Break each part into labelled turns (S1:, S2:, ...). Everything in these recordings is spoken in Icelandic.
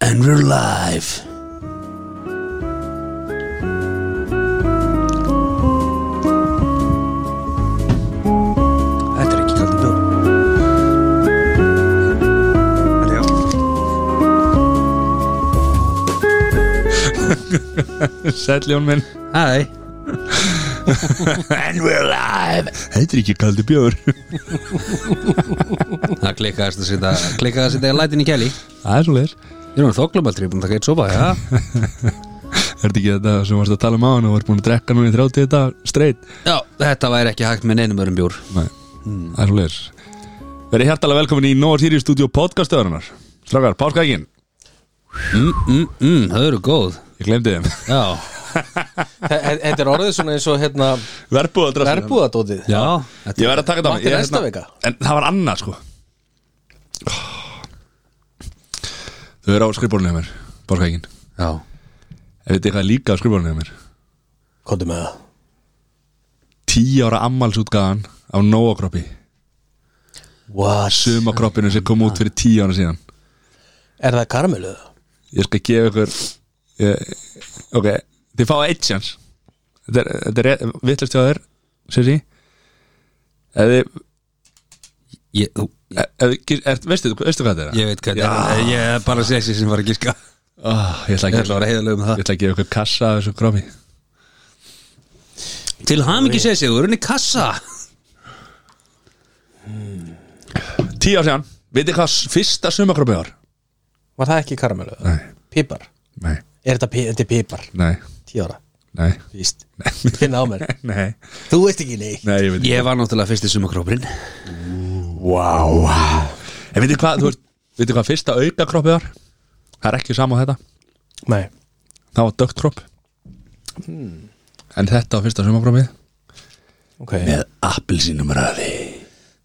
S1: And we're live Þetta er ekki kaldur bjór Þetta já
S2: Sæll Jón minn
S1: Hæ And we're live
S2: Heitir ekki kaldi bjór
S1: Það klikkaðast að setja Klikkaðast að setja lætin í kæli
S2: Það er svo leir
S1: Ég er hann þoklumaldri Búin að taka eitt sopa, já
S2: Er þetta ekki þetta sem varst að tala um á hann og var búin að drekka núna í 30 þetta straight
S1: Já, þetta væri ekki hægt með neinum öðrum bjór
S2: Nei, það er svo leir Verið hjartalega velkomin í Nóa Týri stúdíu podcastöðurinnar Strákar, páskaækin
S1: Mm, mm, mm, þau eru góð
S2: Ég glemdi þeim
S1: Já,
S3: Þe- þe- Þetta er orðið svona eins og hérna
S2: Verbúða drastin
S3: Verbúðadótið
S1: já
S2: Ég verð að taka þetta á mig.
S3: Mætti
S2: Ég,
S3: næsta
S2: hérna-
S3: vika.
S2: En það var annað sko Þau eru á skrifbólunni hjá mér Páskaækin
S1: Já
S2: Ef þetta eitthvað er líka á skrifbólunni hjá mér
S3: Kóttu með það
S2: 10 ára ammálsútgaðan á Nóa kroppi
S3: What?
S2: Sumakroppinu sem kom út fyrir 10 ára síðan
S3: Er það karamelluð?
S2: ég skal gefa ykkur ég, ok, þið fáið eitt sjans þetta er, þetta er vittlust hjá þér Sissi ef þið e,
S1: Ég, þú,
S2: ef þið gís- ert- veistu, veistu hvað þetta er?
S1: ég veit hvað þetta er Ég er bara að segja sér sem var að gíska
S2: oh, ég, ætla að
S1: Ég
S2: gefa,
S1: ætla að vera heiðalega
S2: ég
S1: um það
S2: ætla að gefa ykkur kassa af þessu grómi
S1: Til ham ekki segja sér, þú eru henni kassa
S2: tíu ár síðan, vitið hvað s- fyrsta sumakrómi var?
S3: Var það ekki karamelluð?
S2: nei,
S3: Pípar
S2: nei,
S3: Er þetta, pí- þetta er pípar?
S2: nei,
S3: Tíu ára
S2: nei
S3: Víst Finna á mér
S2: nei,
S3: Þú veist ekki neitt
S2: nei, ég veit
S1: Ég var náttúrulega fyrst í sumakrópurinn
S2: wow. en vitið hvað, þú veist vitið hvað fyrsta auka kroppi var? það er ekki sama á þetta,
S3: Nei
S2: það var dögt kropp Hmm. en þetta var fyrsta sumakrómið
S3: Ok
S1: appelsínum ræði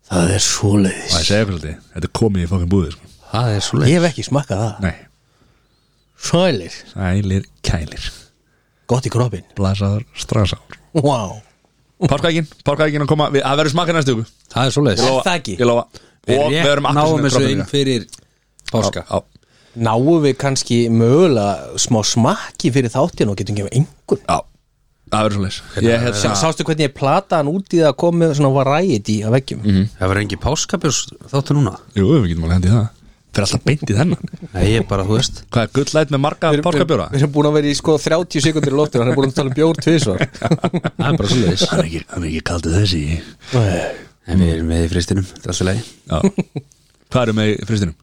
S3: Það er
S2: Og
S3: svoleiðis
S2: ég segja ykkur svolítið, þetta er komið í fokkin búðið sko.
S1: Það er svo
S3: Ég hef ekki smakkað það
S2: Nei,
S3: Svoleiðis
S2: sælir kælir
S3: Gott í kroppin
S2: Blasaður strasaður
S3: Wow
S2: Párkækin, párkækin að koma, við, það verður smakkar næstu ykkur
S1: Það er svo leiðis
S3: lofa. Það ekki.
S2: Ég lofa Og við
S1: Rétt
S2: verum
S1: náum þessu inn fyrir páska
S2: Já,
S3: Náum við kannski mögulega smá smakki fyrir þáttin og getum gefið einhvern
S2: já, það verður svo leys Ég hérna- hef
S3: Sá-
S2: það
S3: Sástu hvernig ég plataðan út í það að koma með svona variety að veggjum
S1: Það verður engi páskabjós þáttu núna
S2: Jú, við getum alveg hendið það Fyrir alltaf beint í þennan
S1: Nei, ég er bara, þú veist
S2: Hvað er gullæt með marga
S3: Við erum-
S2: párkabjóra?
S3: Við erum búin að vera í sko 30 sekundir í loftur Hann er búin að tala um bjór tvisvar
S1: Það er bara svo leiðis
S2: er ekki, hann er ekki kaldið þessi Já
S1: En við erum með í fristinum, þetta er alltaf leið
S2: Hvað eru með í fristinum?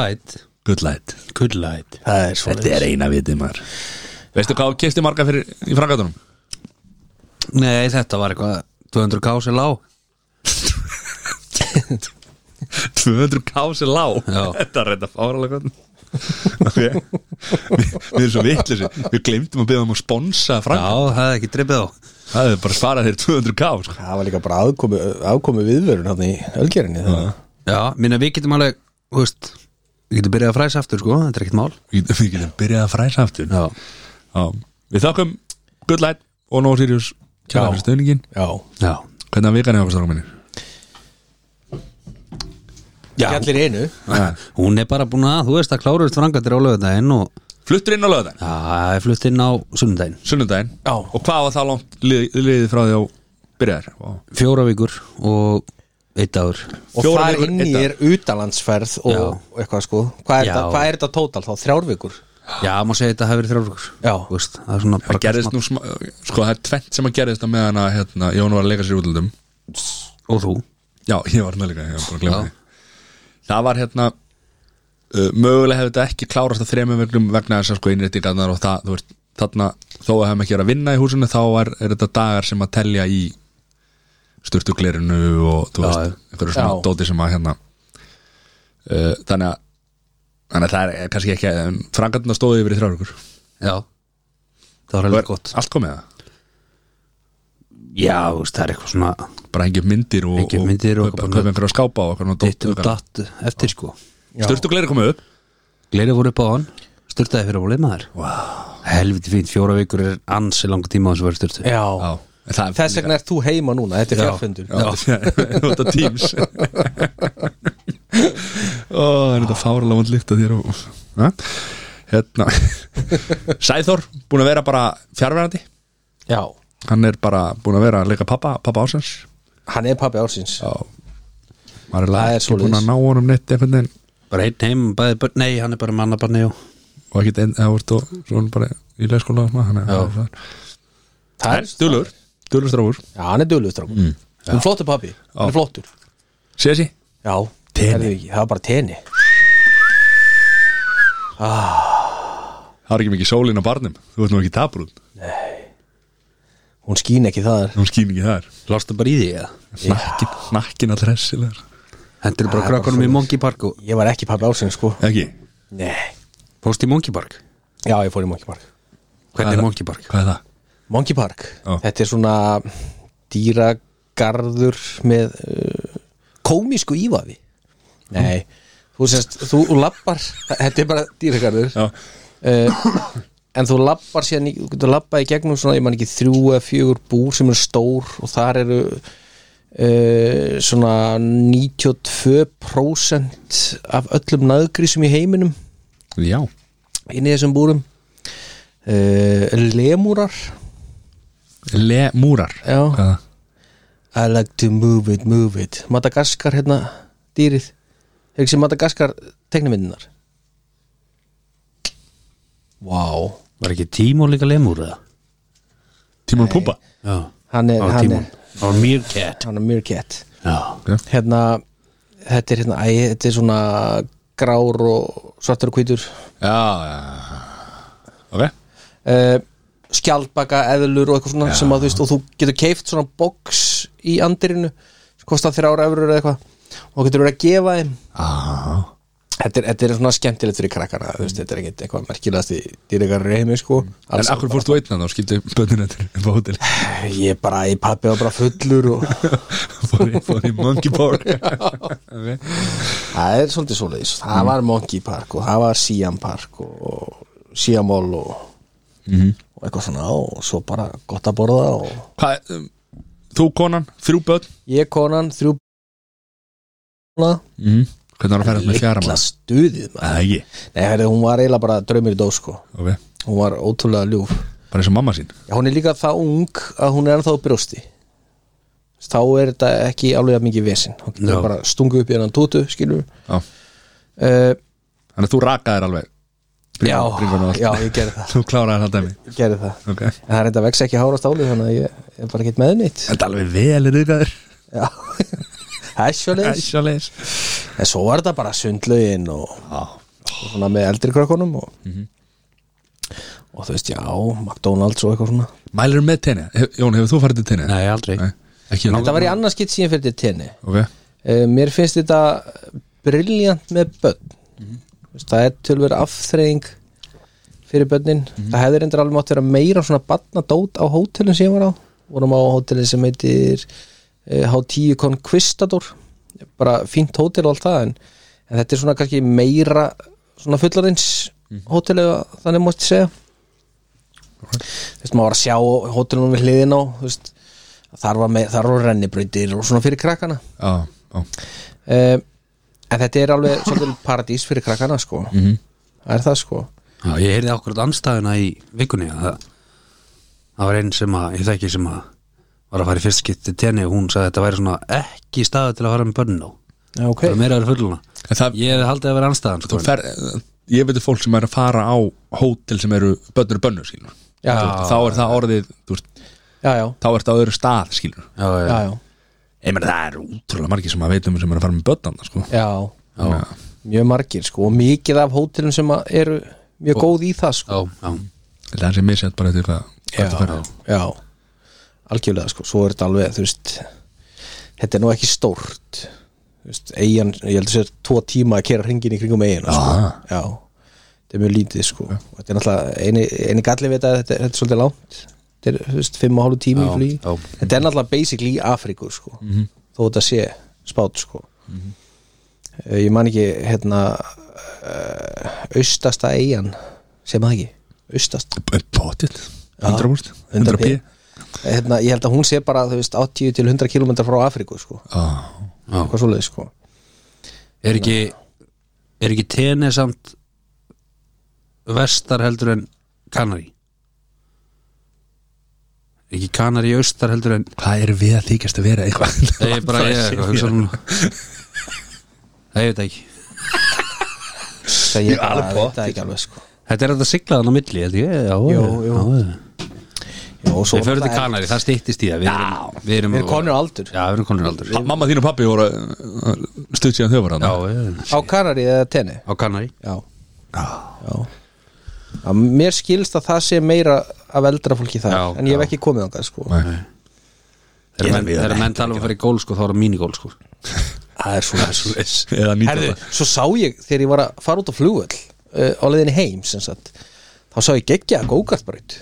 S1: Light,
S2: Gullæt
S1: good light
S3: Það er svona
S2: er eina vitið maður Veistu hvað kefti marga fyrir í frangatunum?
S1: Nei, þetta var eitthvað 200k sem lá
S2: 200k sem lá
S1: Já.
S2: Þetta er reynda fáralega okay. Við við erum svo vitleysi Við glemtum að beða um að sponsa
S1: Já,
S2: Frank
S1: það er ekki drippið á
S2: Það er bara svarað þér 200k sko.
S3: Það var líka bara aðkomi, aðkomi viðvörun hann í ölgerinni það.
S1: Já, minna við getum alveg, þú veist Við getum byrjað að fræsa aftur, sko, þetta er ekkert mál
S2: Við við getum byrjað að fræsa aftur
S1: Já,
S2: Já. Við þakkum Good Light og No Sirius Kjæra
S3: Já.
S2: fyrir stöðningin
S3: Já,
S1: já
S2: Hvernig að vikan er okkur strákum minni?
S3: já. allir einu
S1: Hún er bara búin að, þú veist, að kláruðist frangatir á lögudaginn og
S2: Fluttur inn á lögðan
S1: Já, það er flutt inn á sunnudaginn
S2: Sunnudaginn
S3: Já.
S2: Og hvað var það langt lið- liðið frá því á byrjaðir? Vá.
S1: Fjóra vikur og eitt dagur
S3: Og
S2: Fjórar
S3: þar
S2: vikur,
S3: inn í
S2: einn
S3: er utalandsferð og eitthvað sko Hvað er,
S1: Já.
S3: þetta, hvað er þetta tótal þá? Þrjár vikur?
S1: Já, maður segir þetta hafi verið þrjár vikur
S3: Já.
S1: Þú veist, Það er svona
S2: Það
S1: bara
S2: gerðist nú sma, Sko það er tvent sem að gerðist á meðan að hérna, Jón var að leika sér útlöndum
S1: Og þú
S2: Já, ég var hérna líka, ég var bara að glemja
S1: Já.
S2: því Það var hérna uh, mögulega hefði þetta ekki klárast á þremur vegnum vegna þess að sko innréttingarnar og það, þú veist, þarna þó að hefum ekki verið að vinna í húsinu þá er, er þetta dagar sem að telja í sturtuglerinu og þú
S1: Já,
S2: veist,
S1: já.
S2: einhverju svona
S3: Já.
S2: dóti sem að hérna uh, þannig að þannig að það er kannski ekki frangarnar stóðu yfir í þrjárugur
S1: Já Það var alveg gott
S2: allt komið það,
S1: Já, þú veist, það er eitthvað svona
S2: bara hengi upp myndir og,
S1: Hengja upp myndir og
S2: og kaupa kaupa
S1: eitthvað
S2: einhverju að skápa og
S1: Ditt og
S2: eitthvað
S1: um datt eftir sko
S2: sturtugleri komið upp
S1: Gleiri voru upp á hann Sturtaði fyrir á bólið maður wow. Helviti fínt, fjóra vikur er ansi langa tíma á þessu verið sturtu
S3: Já,
S2: Já, en það er
S3: Þess
S2: líka-
S3: vegna er þú heima núna, þetta
S1: Já.
S3: er fjárfundur
S2: Já, nota Teams Ó, það er þetta fáralega vond lykt að þér og Nei. hérna Sæþór, búin að vera bara fjárverandi
S3: Já,
S2: hann er bara búin að vera að leika pappa pappa ásens
S3: hann er pappi ársins
S2: Já maður er
S3: Það
S2: eiginlega
S3: er
S2: ekki
S3: svoleiðis.
S2: búin að ná honum neitt einhvern veginn
S1: bara einn heim, bæði, börn- nei, hann er bara mannabarni og
S2: og ekkert einn eða vort og svo er hann bara í leikskóla og svona, hann er-
S3: Það er
S2: Dulur, dulur strákur
S3: Já, hann er dölur strákur mm. Hún er flottur pappi, hann er flottur
S2: Sessi
S3: Já,
S2: Teni.
S3: það er ekki, það er bara teni
S2: Það er ekki mikið sólin á barnum Þú ert nú ekki taprún
S3: Hún skín ekki þar
S2: Hún skýn ekki þar
S1: lástu bara í því eða?
S2: Nakkin, nakkin allra hessilegar
S1: Hendur bara
S3: Það er bara
S1: krakkanum í
S3: svoleiðis.
S1: Monkey Park og
S3: Ég var ekki pappi ársins sko
S2: Ekki
S3: Nei
S1: fórst í Monkey Park
S3: Já, ég fór í Monkey Park
S1: Hvernig er Monkey Park?
S2: Hvað er það?
S3: Monkey Park,
S2: Já.
S3: þetta er svona dýragarður með uh, komisku ívafi Nei, þú sést, þú lappar þetta er bara dýragarður
S2: Já,
S3: uh, en þú lappar síðan, í- þú getur lappað í gegnum svona, ég man ekki þrjú eða fjögur búr sem eru stór og þar eru uh, svona 92% af öllum naðgrísum í heiminum
S2: Já.
S3: inn í þessum búrum uh, lemúrar
S2: Lemúrar
S3: Já.
S2: Hvað er það?
S3: I like to move it, move it Madagaskar hérna, dýrið Hefur ekki sem Madagaskar teknimyndinar Vá wow.
S1: Var ekki Tímon líka lemur eða?
S2: Tímon Pumba
S1: Já,
S3: Hann er,
S1: það var
S3: hann
S1: Tímon
S3: er,
S1: Það var Meerkat
S3: hann er meerkat
S1: Já,
S3: Hérna, þetta er hérna, æ, þetta er svona grár og svartur og hvítur
S2: Já, já Ok
S3: uh, skjaldbaka, eðlur og eitthvað svona sem að þú veist og þú getur keift svona box í andirinu sem kostar þrjára eurur eða eitthvað og getur verið að gefa þeim
S2: ah.
S3: þetta er, þetta er svona skemmtilegt fyrir krakkana þú veist, þetta er ekkit eitthvað merkilegast í dýrleikar reymi sko
S2: Mm. En akkur fórst þú einn að þá skildi bönnir eftir upp á hótel
S3: ég bara, ég pappi var bara fullur og
S2: fór, í- fór í Monkey Park
S3: það er svolítið svoleiðis
S2: Mm.
S3: það var Monkey Park og það var Siam Park og, og Siamol og,
S2: Mhm.
S3: og eitthvað svona og svo bara gott að borða og
S2: Hvað, um, Þú konan, þrjú börn
S3: ég konan, þrjú svona
S2: mm. Hvernig var að ferðast með fjara
S3: litla
S2: maður?
S3: stuðið maður.
S2: Það ekki
S3: Nei, herri, hún var eiginlega bara draumir í dós sko.
S2: Ok,
S3: hún var ótrúlega ljúf
S2: bara eins og mamma sín
S3: Já, hún er líka það ung að hún er ennþá á brjósti þá er þetta ekki alveg að mikið vesinn hún getur
S1: Já.
S3: bara stungu upp í hennan tótu skilur
S2: Já.
S3: uh,
S2: Þannig að þú rakaðir alveg
S3: já,
S2: Bringan- bringan og allt.
S3: já, ég gerði það
S2: Þú kláraði það dæmi
S3: ég gerði það
S2: Ok.
S3: en það er þetta vex ekki hára stáli þannig að ég, ég er bara ekki með nýtt
S2: Þetta er alveg vel er ykkar
S3: Já. það er sjóleis
S2: Æsjaleis
S3: en svo var þetta bara sundlaugin og og svona með eldri krökkunum og, og þú veist, já, McDonalds og eitthvað svona
S2: Mælur með tenni Hef- Jón, hefur þú farið til tenni?
S1: nei aldrei
S2: Nei. Ekki hérna.
S3: þetta var í annarskitt síðan fyrir til tenni
S2: Ok
S3: Eh, mér finnst þetta briljant með börn það er tölver afþreying fyrir börnin það hefði reyndar alveg mátt vera meira svona barnadót á hótelin sem ég var á vorum á hótelin sem heitir eh, H10 Conquistador bara fínt hótel og allt það en, en þetta er svona kannski meira svona fullarins hótel eða þannig mátti segja þú veist maður var að sjá hótelunum við hliðin á þú veist, þar var, með, þar var rennibrautir og svona fyrir krakkana
S2: Já, já
S3: uh, en þetta er alveg svolítið paradís fyrir krakkana sko það er það sko
S1: Já, ég heyrði akkurat anstæðuna í vikunni að það, það var einn sem að, ég þekki sem að var að fara í fyrst skipti tenni og hún sagði að þetta væri svona ekki staðu til að fara með börn á
S3: já, ok
S1: það er meira að vera fulluna
S2: En það
S1: ég hefði haldið að vera anstæðan sko,
S2: Þú fer Ég veitur fólk sem er að fara á hótel sem eru bönnur bönnur skilur
S3: Já.
S2: Þú veist, Þá er það orðið Þú veist
S3: já, já,
S2: Þá er það á öðru stað skilur
S1: já, já,
S3: já, já,
S2: Ég meina það er útrúlega margir sem að veitum sem er að fara með bönnan sko
S3: já.
S1: já,
S3: mjög margir sko og mikið af hótelum sem að eru mjög góð í það sko
S1: já, já.
S2: Þetta er sem ég sett bara eftir hvað hvað ertu að fara á.
S3: já, algjörlega sko svo er þetta alveg, þú veist þetta er nú ekki stórt Þú veist, eigin, ég heldur sér tvo tíma að kera hringin í kringum eigin sko. já, þetta er mjög lítið sko Og þetta er náttúrulega, eini, eini galli við þetta þetta, er- þetta er svolítið langt þetta er, þú veist, fimm og hálfu tími í
S1: Já,
S3: flugi
S1: já. Mhm.
S3: þetta er náttúrulega basically í Afríku sko þó þetta sé spátt sko Eh, ég man ekki hérna eh, austasta eigin sem það ekki, austast
S2: B- Pottit 100% 100 p
S3: 100p. hérna, ég held að hún sé bara, þú veist, 80 til 100 km frá Afríku, sko,
S2: Já
S3: eitthvað svoleið, sko
S1: er ekki er ekki tenni samt vestar heldur en Kanari ekki Kanari austar heldur en
S2: Hvað er við að þykjast að vera eitthvað?
S1: það er bara ég eitthvað, hugsa núna það er þetta ekki
S3: Það
S2: Ég
S3: ég
S2: er alveg
S3: bara veit
S2: pottþétt.
S3: það ekki alveg sko
S1: þetta er þetta siglaðan á milli held ég, já,
S3: Jú,
S1: já,
S3: jú.
S1: já.
S3: Jó, og svo
S1: við förum til
S3: náttúrulega
S1: Kanari, það stýttist í það við erum, við
S3: er-
S1: erum,
S3: Við erum konur á aldur
S1: já, við erum konur aldur já,
S2: Mamma þín og pappi voru eh, stutt síðan þau voru hann
S1: við erum
S3: Á Kanari eða Tenni
S1: á Kanari
S3: Já, já. Að Mér skilst að það sé meira af eldra fólki það
S1: Já,
S3: En ég hef
S1: já.
S3: ekki komið þangað sko
S1: þegar
S2: Ég
S1: menn,
S2: veit
S1: þegar
S2: ekki
S1: menn tala um að fara í gól sko, þá er það mínigól sko
S3: Það er svona
S2: Eða
S3: Herðu,
S2: nýtjóða
S3: svo sá ég þegar ég var að fara út á flugvöll uh, á leiðinni heim sem sagt þá sá ég geggja að gókartbraut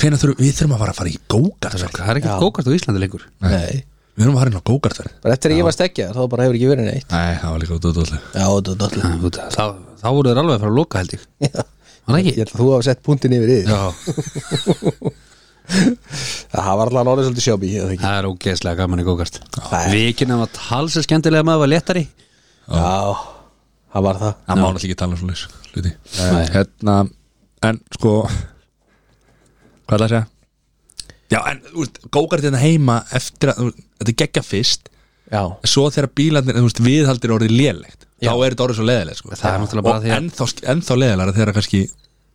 S2: Hvenær þurfum við þurfum að fara að fara í gókartverk
S1: það er
S3: Já.
S1: ekkert gókart á Íslandi lengur
S3: Nei,
S2: Við þurfum að fara inn á gókartverk
S3: bara eftir að ég var stekja þá bara hefur ekki verið neitt
S2: Nei, það var líka út út allir
S3: Já, þetta er
S1: Æ,
S3: dottlega
S1: þú veit, þá, þá voru þeir alveg að fara að loka held ég var það
S3: Ég
S1: ekki?
S3: held að þú hafa sett puntin yfir yfir
S1: já,
S3: Það var allan orðið svolítið sjábí ég,
S1: það er ógeðslega gaman í gókart
S3: Það er-
S1: vikinn að talsa skemmtilega maður var léttari
S3: Já, það var það
S2: Það má náttúrulega ekki tala um svona hluti Hérna, en sko Hvað er það að segja? Já, en úst, gókart hérna heima eftir að, úst, þetta er geggja fyrst
S3: Já,
S2: Svo þegar bílarnir, þú veist, viðhaldir orðið lélegt Þá er þetta orðið svo leðilegt, sko
S1: Það er náttúrulega bara
S2: Og
S1: því að-
S2: ennþá, ennþá leðilega þegar kannski,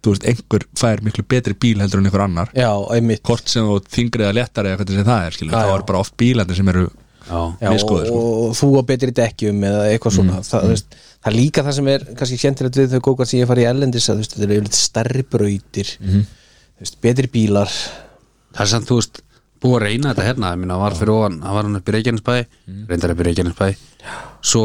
S2: þú veist, einhver fær miklu betri bíl heldur en einhver annar
S3: já, einmitt
S2: Hvort sem þú þingrið að léttari eða hvernig sem það er, skilur
S3: Já,
S2: Þá
S3: já.
S2: er bara oft bílarnir sem eru
S1: já,
S3: Já, og,
S2: Misgóður, sko.
S3: og þú á betri dekkjum eða eitthvað svona það, þú Veist, það er líka það sem er kannski kjentilegt við þau gókart sem ég fari í ellendis að þú veist, þetta eru yfirleitt stærri brautir þú veist, betri bílar
S1: það er samt þú veist búið að reyna þetta hérna, ég minna var fyrir ofan hann var hann upp í Reykjanesbæ, reyndar upp í Reykjanesbæ svo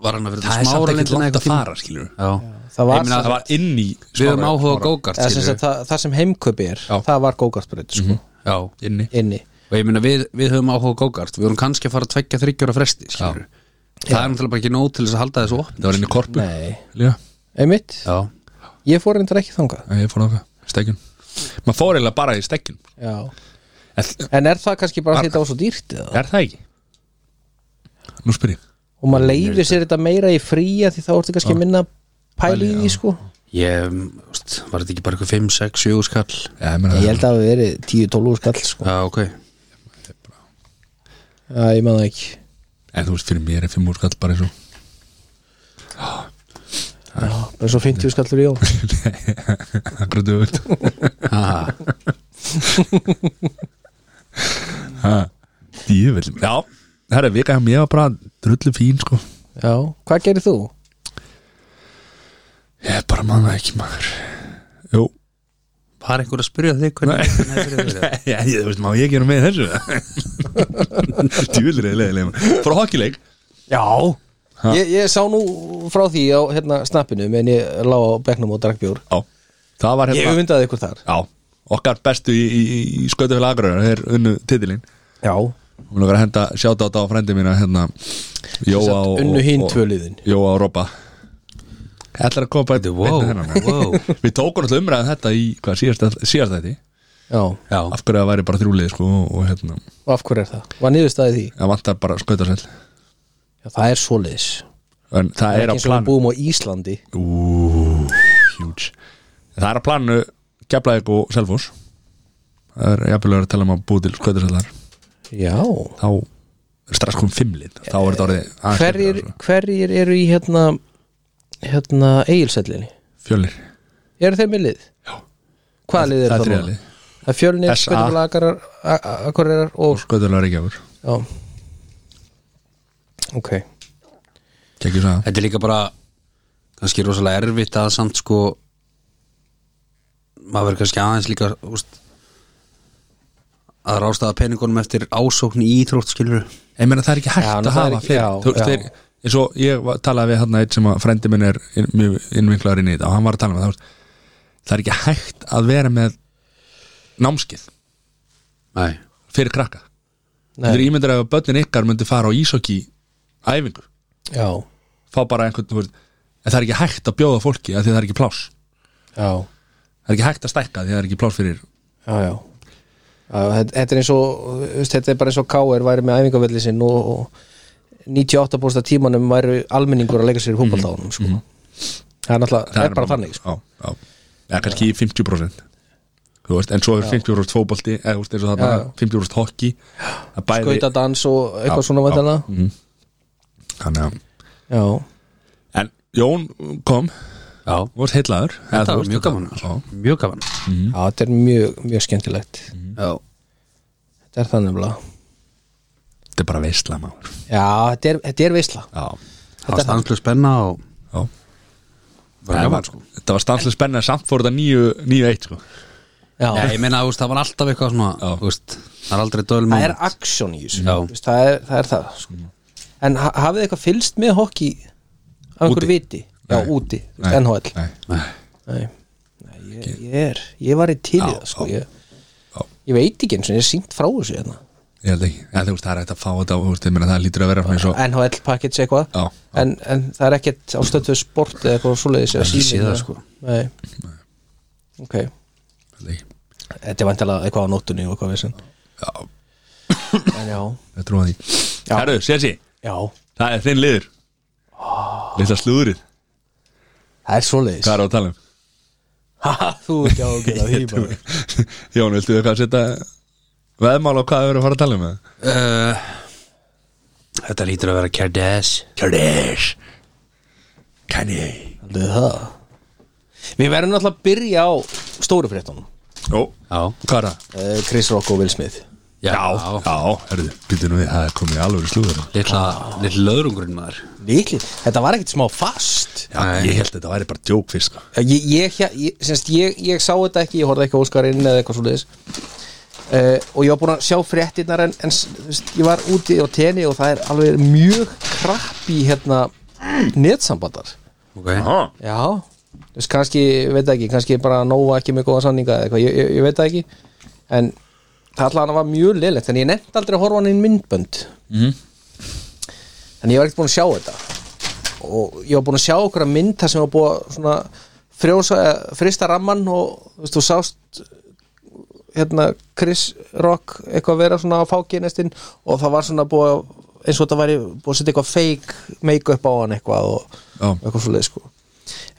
S1: var hann að fyrir
S2: Það er samt ekkert
S1: smáralindina
S2: langt
S1: eitthvað
S2: að fara, skilur
S1: tíma. já,
S3: það var,
S1: Ég meina,
S2: Það var inn í
S1: við höfum áhuga á
S2: Smára-
S1: gókart
S3: eða, sem sagt,
S1: já,
S3: það, það sem heimkaupi er
S2: Já.
S3: það var gókartbraut sko,
S1: og
S2: Inni
S3: inni
S1: ég minna við, við höfum áhuga á gókart við vorum kannski að fara að tvekja þryggjur að fresti skilur. það er náttúrulega bara ekki nóg til þess að halda þessu opn
S2: Það var inn í korpu
S3: Nei.
S2: Líka,
S3: einmitt,
S1: já,
S3: ég fór reyndar ekki þangað
S2: Nei, ég fór náttúrulega, stekkjun Maður fór eiginlega bara í stekkjun
S3: já.
S2: Er
S3: en er það kannski bara því þetta var svo dýrt eða?
S2: það ekki? Nú spyr ég
S3: og maður leifir sér þetta meira í fríja því þá ertu kannski minna pæli í því sko
S1: ég, úst, var þetta ekki bara eitthvað 5, 6, 7 skall
S2: Já, ég meina
S3: ég
S2: það
S3: held að það hafi verið 10-12 skall sko
S1: já, ok,
S3: já, ég man það ekki
S2: En þú veist, fyrir mér er fimm úr skall bara eins og
S3: já, bara svo 50 skallur í jól
S2: Akkur dögut
S1: ha,
S2: Dývill Já, það er vika hjá mér var bara drullu fín sko
S3: já, hvað gerir þú?
S2: Ég er bara manna ekki maður Jú
S1: var einhver að spyrja þig hvernig hvernig þetta er fyrir
S2: Já, ég, þú veist, má ég gera með þessu Dývill er eiginlega Frá hokkileik
S3: já ég, ég sá nú frá því á hérna snappinu menn ég lá á bekknum og drakk bjór
S2: Já, það var
S3: ég
S2: hérna
S3: umundaði ykkur þar
S2: Já, okkar bestu í, í, í skautafélag Akureyrar Þeir unnu titilinn
S3: já,
S2: Hún er verið að henda sjáta á þetta á frændi mína hérna, Jóa
S3: Sagt,
S2: og, og,
S3: unnu hinn
S2: og-
S3: tvö liðin.
S2: Jóa og Robba Ætlar að koma bara
S1: Wow,
S2: hérna.
S1: wow.
S2: Við tókum alltaf umræðan þetta í hvað, síðast, síðast þetta
S3: já,
S1: já,
S2: Af hverju það væri bara þrjúlið sko, og, og hérna,
S3: og af hverju er það? var niðurstaðið því?
S2: það vantar bara skautasell
S3: Já, það er svoleiðis
S2: En það er á
S3: eins og við
S2: planu
S3: búum á Íslandi
S2: Ú, huge Það er á planu Keflavík og Selfos Það er jafnilega að tala um að búi til skautasellar
S3: já
S2: Þá er strax komum fimmlið Þá er þetta orðið aðeins
S3: hverjir,
S2: skemmtilegra, sko.
S3: hverjir eru í hérna hérna eigilsellinni?
S2: Fjölnir
S3: eru þeir með lið? já hvaða lið eru
S2: Það er
S3: það? núna?
S2: þriðalið
S3: það er fjölnir,
S2: SA.
S3: skautafélagarar akkurirar og
S2: Skautasellar Reykjavík
S3: já ok
S2: Kekki saga
S1: þetta er líka bara kannski rosalega erfitt að samt sko maður verður kannski aðeins líka úst, að rástaða peningunum eftir ásókn í íþrótt skilur
S2: Ég meina það er ekki hægt
S3: Já,
S2: að
S3: það er
S2: hafa
S3: ekki-
S2: fleiri
S3: já,
S2: Þú veist,
S3: já.
S2: þeir- eins og ég var- talaði við hann eitt sem að frendi minn er inn- mjög innvinklaður inn í þetta og hann var að tala með það það er ekki hægt að vera með námskið
S1: nei,
S2: fyrir krakka
S3: Nei.
S2: Þetta er ímyndir að börnin ykkar myndi fara á ísokki æfingu,
S3: já,
S2: fá bara einhvern þú veist, en það er ekki hægt að bjóða fólki af því að það er ekki pláss,
S3: já,
S2: það er ekki hægt að stækka af því að það er ekki pláss fyrir
S3: já, já. Já, þetta- þetta er eins og þú veist, þetta er bara eins og K.R. væri með æfingavölli sinn og, og 98% af tímanum væru almenningur að leika sér í
S2: Mhm.
S3: fútboltáðunum sko. það er náttúrulega, það er bara þannig sko.
S2: já, já. eða kannski 50% þú veist, en svo er 50% fótbolti eða þú veist, eins og það
S3: Já,
S2: bara
S3: já.
S2: 50% hockey það bæði
S3: skautadans og eitthvað
S2: Já,
S3: svona
S2: já.
S3: væntanlega.
S2: Mhm. þannig að
S3: já,
S2: en Jón kom,
S1: Já,
S2: vorst heillaður eða
S1: þetta
S2: þú
S1: var
S2: veist,
S1: mjög gaman
S2: þetta- já.
S1: Mjög gaman
S2: Mhm.
S3: já, þetta er mjög, mjög skemmtilegt
S1: Já,
S3: þetta er þannig bara
S2: þetta er bara veistla maður
S3: já, þetta er, þetta er veisla
S2: já,
S1: það var stanslu spenna og
S2: já
S1: bara
S2: En
S1: gaman
S2: það-
S1: sko
S2: þetta var stanslega spennið samt fór þetta 9-1 sko.
S3: já,
S1: Nei, ég meina, þú veist, það var alltaf eitthvað svona
S2: Já.
S1: þú veist, Það er aldrei döl
S3: það er
S1: moment
S3: aksjón í þessu
S1: Já.
S3: þú veist, það er það, er það sko. en ha- hafið þið eitthvað fylst með hokki af einhver
S2: Úti.
S3: viti já,
S2: Nei.
S3: úti, þú veist,
S2: Nei,
S3: NHL
S2: nei.
S1: Nei.
S3: Nei, Nei ég, ég er ég var í til í
S2: Já,
S3: það sko
S2: já,
S3: ég,
S2: já.
S3: ég veit ekki eins og ég er syngt frá þessu hérna
S2: ég held ekki, en þú veist, það er hægt að fá þetta og þú veist, ég meina, það lítur að vera svona eins og
S3: NHL package eitthvað
S2: Já, já.
S3: en, en það er ekkert á stöðtöð sport eða eitthvað svoleiðis eða
S1: Ég sé
S3: Síminn
S1: það,
S3: eða-
S1: sko.
S3: Nei. ok,
S2: Ég held ekki.
S3: þetta er vantilega eitthvað á nóttunni og eitthvað við sem
S2: Já.
S3: en já,
S2: ég trúa því
S3: Já.
S2: Herru, Sessi,
S3: já,
S2: það er þinn liður Lilla slúðrið,
S3: það er svoleiðis
S2: hvað er á að tala um?
S3: ha, þú er ekki á að gera því bara.
S2: Jón, viltu eitthvað að setja veðmál á hvað við erum að fara að tala um það?
S1: uh, Þetta lítur að vera Kjardes
S2: Kjörðis Kanye
S3: Haldið þið það? við verðum náttúrulega að byrja á stóru fréttunum
S2: Jó,
S1: Já,
S2: hvað er það?
S3: Eh, Chris Rock og Will Smith
S1: já,
S2: já, herru, býttu nú við, það er komið alveg slúður
S1: Litla, litla löðrungurinn maður
S3: Líkli, þetta var ekkert smá fast
S2: Já, ég held að þetta væri bara djók fyrst sko.
S3: Já, Ég, ég, ég, semst, ég, ég sá þetta ekki, ég horfði ekki á Óskarinn eða eitthvað svo leiðis og ég var búin að sjá fréttinnar en, en s- þú veist, ég var úti á tenni og það er alveg mjög krapp í hérna netsambandar
S1: okay.
S2: Já,
S3: Já, þú veist, kannski, ég veit það ekki kannski bara nóa ekki með góða sanninga eða eitthvað, ég, ég, ég veit það ekki en það allan var mjög liðlegt en ég nefndi aldrei að horfa á hann inn myndbönd mm. en ég var ekkert búin að sjá þetta og ég var búin að sjá okkur að mynd þar sem var búið að svona frjósa, eða frista ramman og þú veist, þú sást hérna Chris Rock eitthvað vera svona á fákinestinn og það var svona búið að eins og þetta væri búið að setja eitthvað fake make-up á hann eitthvað og
S2: Já.
S3: eitthvað svo leið sko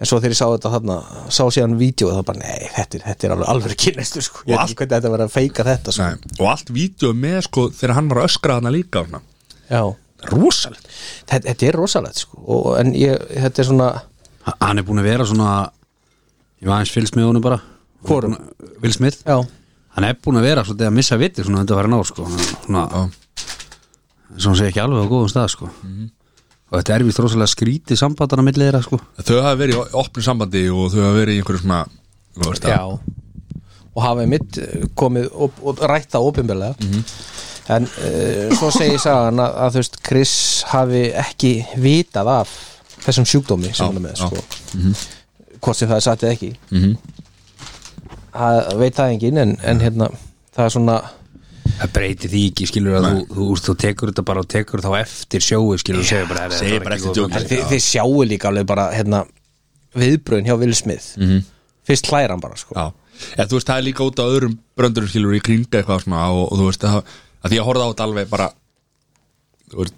S3: en svo þegar ég sá þetta þarna sá síðan vídeo það bara nei, þetta er, þetta er alveg alveg kynnestu sko, ég
S2: Og
S3: veit ekki hvernig þetta var að feika þetta sko.
S2: Nei. Og allt vídeo með sko þegar hann var að öskra hana líka hana.
S3: já,
S2: Rosalegt
S3: þetta, þetta er rosalegt sko og, en ég, þetta er svona
S1: Ha- Hann er búin að vera svona Ég var aðeins fylgst með honum bara
S3: Hvorum?
S1: Will Smith
S3: já,
S1: Hann er búin að vera svolítið að missa viti svona þetta var hann á sko Hann- svona,
S2: Já.
S1: eins og hann sé ekki alveg á góðum stað sko og þetta er við þrósalega skrítið sambandana milli þeirra sko
S2: Þau hafa verið í opnu sambandi og þau hafa verið í einhverju svona þú veist að-
S3: já og hafa mitt komið og, og rætt það opinbjörlega
S2: Mhm.
S3: en uh, svo segi ég sagan að, að þú veist Chris hafi ekki vitað af þessum sjúkdómi sem
S2: Já,
S3: hann er með
S2: já.
S3: sko. hvort sem það er satt eða ekki
S2: Mhm.
S3: það veit það engin en, en hérna það er svona
S1: það breytir því ekki skilur að þú, þú, þú, þú tekur þetta bara og tekur þá eftir sjói skilur og segir bara "Herra,
S2: segir
S1: þetta var
S2: bara
S1: ekki
S2: eftir
S1: góð
S2: djókið.
S1: mynd."
S3: En þið, þið sjáu líka alveg bara hérna, viðbröðin hjá Will Smith -hmm. fyrst hlæra hann bara sko.
S2: Mhm. Já, eða þú veist, það er líka út á öðrum bröndurum skilur í kringa eitthvað svona og, og þú veist, að, að því að horfa á þetta alveg bara þú veist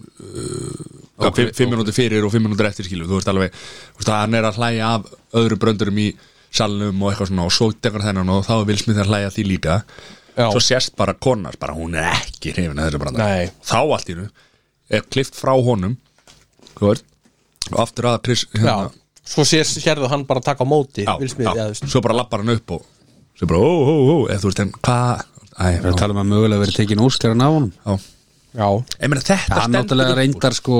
S2: uh, okay, fimm, fimm minúti fyrir og fimm minúti eftir skilur þú veist alveg, þú veist, að hann er að hlæja af öðrum bröndurum í salnum og eitthvað svona og svo tekur þennan og þá er vilsmið að hlæja því líka
S3: Já.
S2: svo sérst bara konar, bara hún er ekki hrifin að þessu
S3: Nei.
S2: brandar, þá allt í nú er klift frá honum þú veist, og aftur að Chris, hérna,
S3: svo sér, sérðu hann bara taka á móti
S2: já,
S3: Will Smith
S2: já,
S3: já, já,
S2: svo bara lappar hann upp og svo bara ó, ó, ó, eða þú veist en hvað Æ,
S1: Það er að tala um að mögulega verið tekin óskarinn af honum
S2: já. Ég meina þetta
S1: hann náttúrulega reyndar sko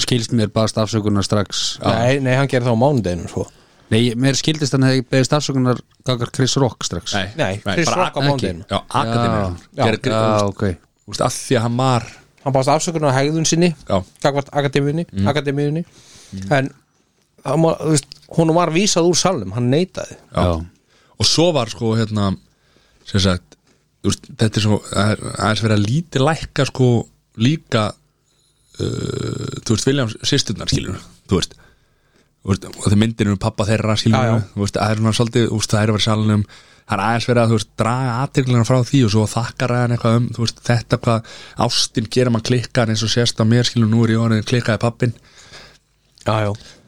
S1: skilst mér baðast afsökunar strax
S3: Nei, nei, hann gerir það á mánudeginu sko.
S1: nei, mér skildist hann hefði beðist afsökunar gangar Chris Rock strax
S2: Nei,
S3: Nei, Chris
S2: bara
S3: Rock á
S2: ak-
S3: mánudeginu.
S2: Já, akademíu
S1: já,
S2: Gerði
S1: já,
S2: grín-
S1: ok
S2: Þú veist, að því að hann var
S3: hann báðast afsökunar á hegðun sinni
S2: Já. Mm.
S3: gagvart akademíunni, akademíunni. en hann var- þú veist, hún var vísað úr salnum, hann neitaði
S1: Ah, já,
S2: Og svo var sko hérna sem sagt, þú veist, þetta er svo það er- aðeins verið að lítið lækka sko líka uh, þú veist, Williams sýsturnar skilur þú veist Þú veist, og þeir myndir um pappa þeirra skilur
S3: Já, já.
S2: Þú veist, það er svona svolítið, þú veist, það er að vera í salnum það er aðeins verið að þú veist, draga aðtýrlina frá því og svo þakkar aðeins eitthvað um þú veist, þetta hvað ástin gerir maður klikkan eins og sérst á mér skilur nú er ég orðin klikkaði pappin
S3: já, já
S2: þú veist,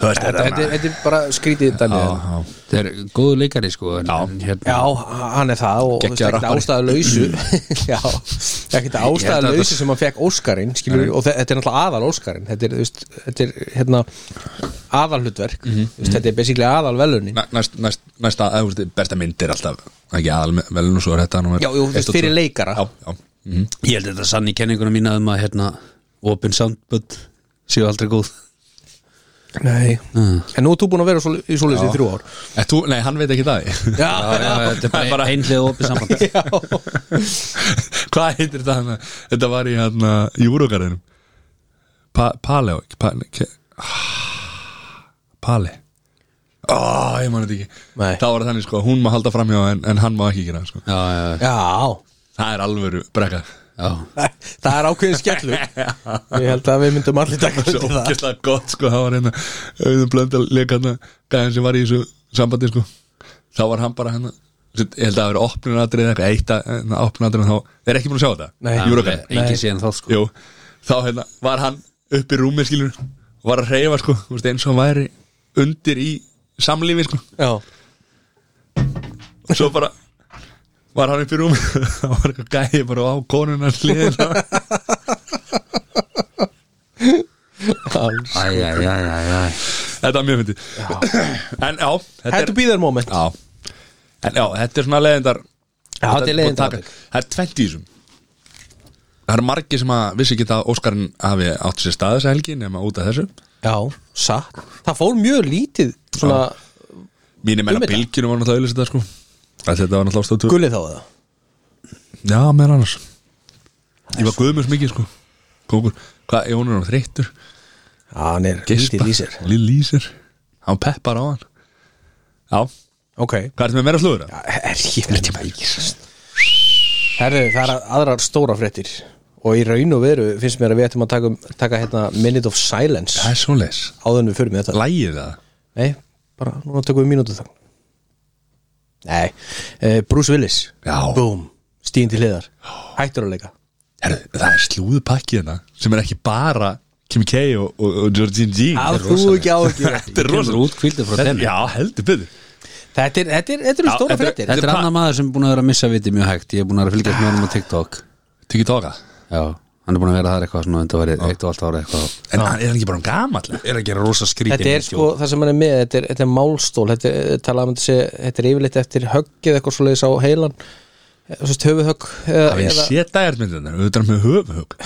S3: Þetta þetta er þetta er bara skrítið dæmi
S2: já,
S3: en-
S2: já,
S1: Það er góðu leikari sko en,
S2: Já.
S1: en hérna,
S3: Já, hann er það og
S2: Geggjaður
S3: ekkert
S2: rappari. Mm.
S3: ástæða lausu Já, ekkert ástæða lausu sem hann fekk Óskarinn skilur,
S2: Mm.
S3: og þe- þetta er náttúrulega aðal Óskarinn þetta er, þú veist, þetta er hérna, aðal hlutverk
S2: Mhm.
S3: veist, þetta er basically aðal velunin
S2: Næ- næst, næst, næsta, eða, þú veist, besta mynd er alltaf ekki aðal vel nú svo er þetta númer
S3: Já, jú, þú
S2: eitt
S3: veist,
S2: og
S3: fyrir
S2: tvö.
S3: leikara
S2: já, já, mhm.
S1: Ég held þetta sann í kenninguna mína um að hérna, open soundbud séu aldrei góð
S3: Nei,
S1: Mm.
S3: en nú er þú búin að vera svo, í svoleiðis í
S2: Já.
S3: þrjú ár
S2: Eh, þú, nei, hann veit ekki það
S3: Já,
S1: Þetta er bara einlega opið samband
S3: já,
S2: hvað heitir þetta hann þetta var í hann júrugarðinum pa, Paleo ekki, pa, ke, Pali ó, ég man þetta ekki
S3: Nei.
S2: það var þannig sko, hún má halda framhjá en, en hann má ekki gera það, sko.
S1: Já, já, já,
S3: já.
S2: það er alvöru brekka
S1: já.
S3: Það er ákveðin skellur Ég held að við myndum allir taka
S2: svo
S3: undir það
S2: ógæslega gott sko, það var hérna auðvitað blöndal leikana gæðan sem var í þessu sambandi sko. þá var hann bara hérna ég held að það verið opnunadrið eða eitthvað eitt að eh, opnunadrið þá er ekki búin að sjá
S3: Nei.
S2: þetta júrugarðin
S1: Engin síðan þá sko
S2: Jú, þá hérna var hann upp í rúmi skilur og var að hreyfa sko, þú veist, eins og hann væri undir í samlífi sko
S3: Já,
S2: og svo bara var hann upp í rúmi þá var eitthvað gæði bara á konuna hliðin
S3: alls
S1: Æ, æ, æ, æ, æ
S2: þetta var mjög fyndið en já, þetta er
S3: Had to be there moment
S2: já, en já, þetta er svona leðindar
S3: Já, þetta er leiðindar atvik.
S2: það er tvent í þessum það er margir sem að vissi ekki að Óskarinn hafi átt sér stað þessa helgi nema út af þessu
S3: Já, satt Það fór mjög lítið svona
S2: mínir menna
S3: Um þetta?
S2: bylgjunum var náttúrulega auðvitað þetta sko að þetta var náttúrulega ástöðu
S3: gullið þá það
S2: Já, meðan annars Ég var guðmjörs mikið sko Kókur, hvað, ég hún er hann þreyttur
S3: Já, hann er
S2: Geispa,
S3: lítið lýsir
S2: Lítið lýsir Hann peppar á hann Já,
S3: Ok
S2: hvað ertu með meira slúður? Já,
S3: Er ég veit ég ekki Herðu, það er aðrar stóra fréttir Og í raun og veru finnst mér að við ættum að taka, taka hérna Minute of Silence
S2: það er svoleiðis
S3: Áður en við förum í þetta
S2: Lægið það
S3: Nei, bara núna tökum við mínútu þang Nei, uh, Bruce Willis
S2: Já.
S3: Búm, stíðin til hliðar Hættur að leika
S2: Herru, það er slúðu pakki hérna Sem er ekki bara Kim K og, og, og Georgine G
S3: Af þú ekki á ekki
S2: Þetta er
S1: Kemur
S2: rosalega
S1: út kvildu frá
S2: Þetta-
S1: tenni
S2: Já, heldur betur
S3: Þetta er, þetta er, þetta er
S2: Já,
S3: stóra
S2: þetta er-
S3: fréttir
S1: Þetta er
S2: pa-
S1: annar maður sem er búin að vera að missa viti mjög hægt Ég er búin að vera að fylgjast með honum á TikTok
S2: Tykki tóka
S1: Já, hann er búin að vera þar eitthvað svona Þetta var eitt og allt ára eitthvað
S2: En hann er hann ekki bara um gamall
S1: Er að gera rosa skrítið
S3: Þetta er sko, það sem hann er með, þetta er, þetta er málstól Þetta er, eh, talað um þetta sé, þetta er yfirleitt eftir höggið eitthvað svoleiðis á heilan eh, Svo veist, höfuðhögg eða,
S2: Það er
S3: eða,
S2: séta er myndin Þetta er með höfuhug